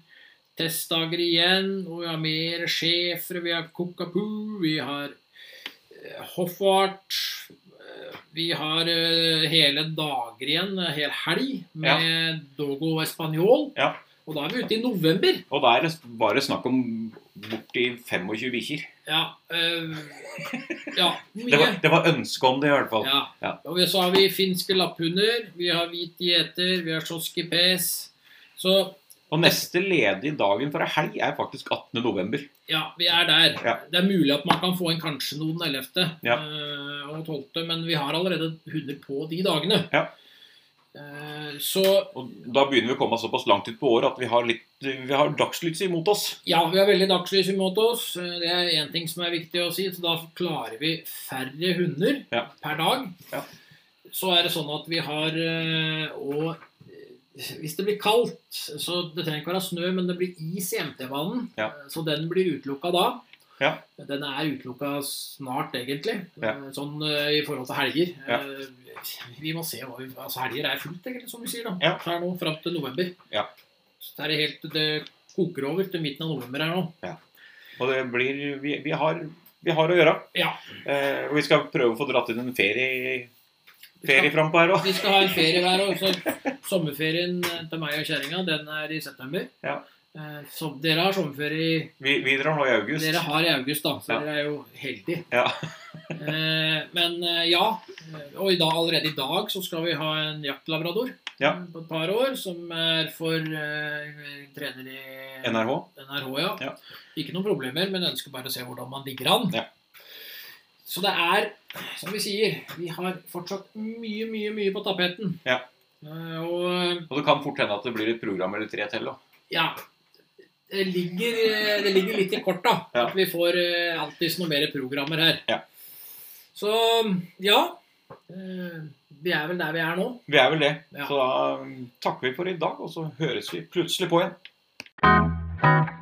Speaker 2: testdager igjen, og vi har mer schæfere, vi har kokapu, vi har eh, hoffart. eh, Vi har eh, hele dager igjen, en hel helg, med dogo español.
Speaker 1: Ja.
Speaker 2: Og da er vi ute i november.
Speaker 1: Og da er det bare snakk om borti 25 bikkjer.
Speaker 2: Ja. eh, ja mye.
Speaker 1: Det, var- det var ønske om det, i hvert fall.
Speaker 2: Ja.
Speaker 1: Ja.
Speaker 2: Og vi- så har vi finske lapphunder, vi har hvit gjeter, vi har sjosky pes. Så
Speaker 1: Og neste ledige dagen for ei helg er faktisk 18. november.
Speaker 2: ja, vi er der.
Speaker 1: Ja.
Speaker 2: Det er mulig at man kan få inn kanskje noen 11.
Speaker 1: Ja.
Speaker 2: eh, og 12., men vi har allerede hunder på de dagene.
Speaker 1: Ja.
Speaker 2: Eh, så
Speaker 1: Og da begynner vi å komme såpass langt ut på året at vi har, litt, vi har dagslytse imot oss.
Speaker 2: ja, vi har veldig dagslys imot oss. Eh, Det er én ting som er viktig å si. Så da klarer vi færre hunder
Speaker 1: Ja.
Speaker 2: per dag.
Speaker 1: Ja.
Speaker 2: Så er det sånn at vi har eh, og eh, hvis det blir kaldt, så det trenger ikke være snø, men det blir is i MT-banen.
Speaker 1: Ja.
Speaker 2: eh, Så den blir utelukka da.
Speaker 1: Ja.
Speaker 2: Den er utelukka snart, egentlig.
Speaker 1: Ja.
Speaker 2: eh, Sånn eh, i forhold til helger.
Speaker 1: Ja.
Speaker 2: Eh, Vi må se hva vi Altså, helger er fullt, egentlig, som vi sier. da.
Speaker 1: Ja.
Speaker 2: Her nå, Fram til november.
Speaker 1: Ja.
Speaker 2: Så det er helt Det koker over til midten av november her nå.
Speaker 1: Og det blir Vi, vi, har, vi har å gjøre.
Speaker 2: Ja.
Speaker 1: Eh, og vi skal prøve å få dratt inn en ferie, ferie frampå her òg.
Speaker 2: Vi skal ha en ferie hver år. Så sommerferien eh, til meg og kjerringa, den er i september.
Speaker 1: Ja.
Speaker 2: Eh, Så dere har sommerferie i
Speaker 1: Vi, vi drar nå i august.
Speaker 2: Dere har i august, da, så
Speaker 1: Ja.
Speaker 2: dere er jo heldige.
Speaker 1: Ja.
Speaker 2: Eh, men eh, ja. eh, Og i dag, allerede i dag så skal vi ha en jaktlabrador
Speaker 1: Ja.
Speaker 2: eh, på et par år, som er for eh, trener i
Speaker 1: NRH.
Speaker 2: NRH, ja.
Speaker 1: Ja.
Speaker 2: Ikke noen problemer, men ønsker bare å se hvordan man ligger an.
Speaker 1: Ja.
Speaker 2: Så det er, som vi sier, vi har fortsatt mye, mye, mye på tapeten.
Speaker 1: Ja.
Speaker 2: Eh, og eh,
Speaker 1: Og det kan fort hende at det blir et program eller tre til. da.
Speaker 2: ja. Det ligger, eh, det ligger litt i korta
Speaker 1: Ja.
Speaker 2: at vi får eh, alltid noen mer programmer her.
Speaker 1: Ja.
Speaker 2: Så ja. eh, Vi er vel der vi er nå.
Speaker 1: Vi er vel det.
Speaker 2: Ja.
Speaker 1: Så da um, takker vi for i dag, og så høres vi plutselig på igjen.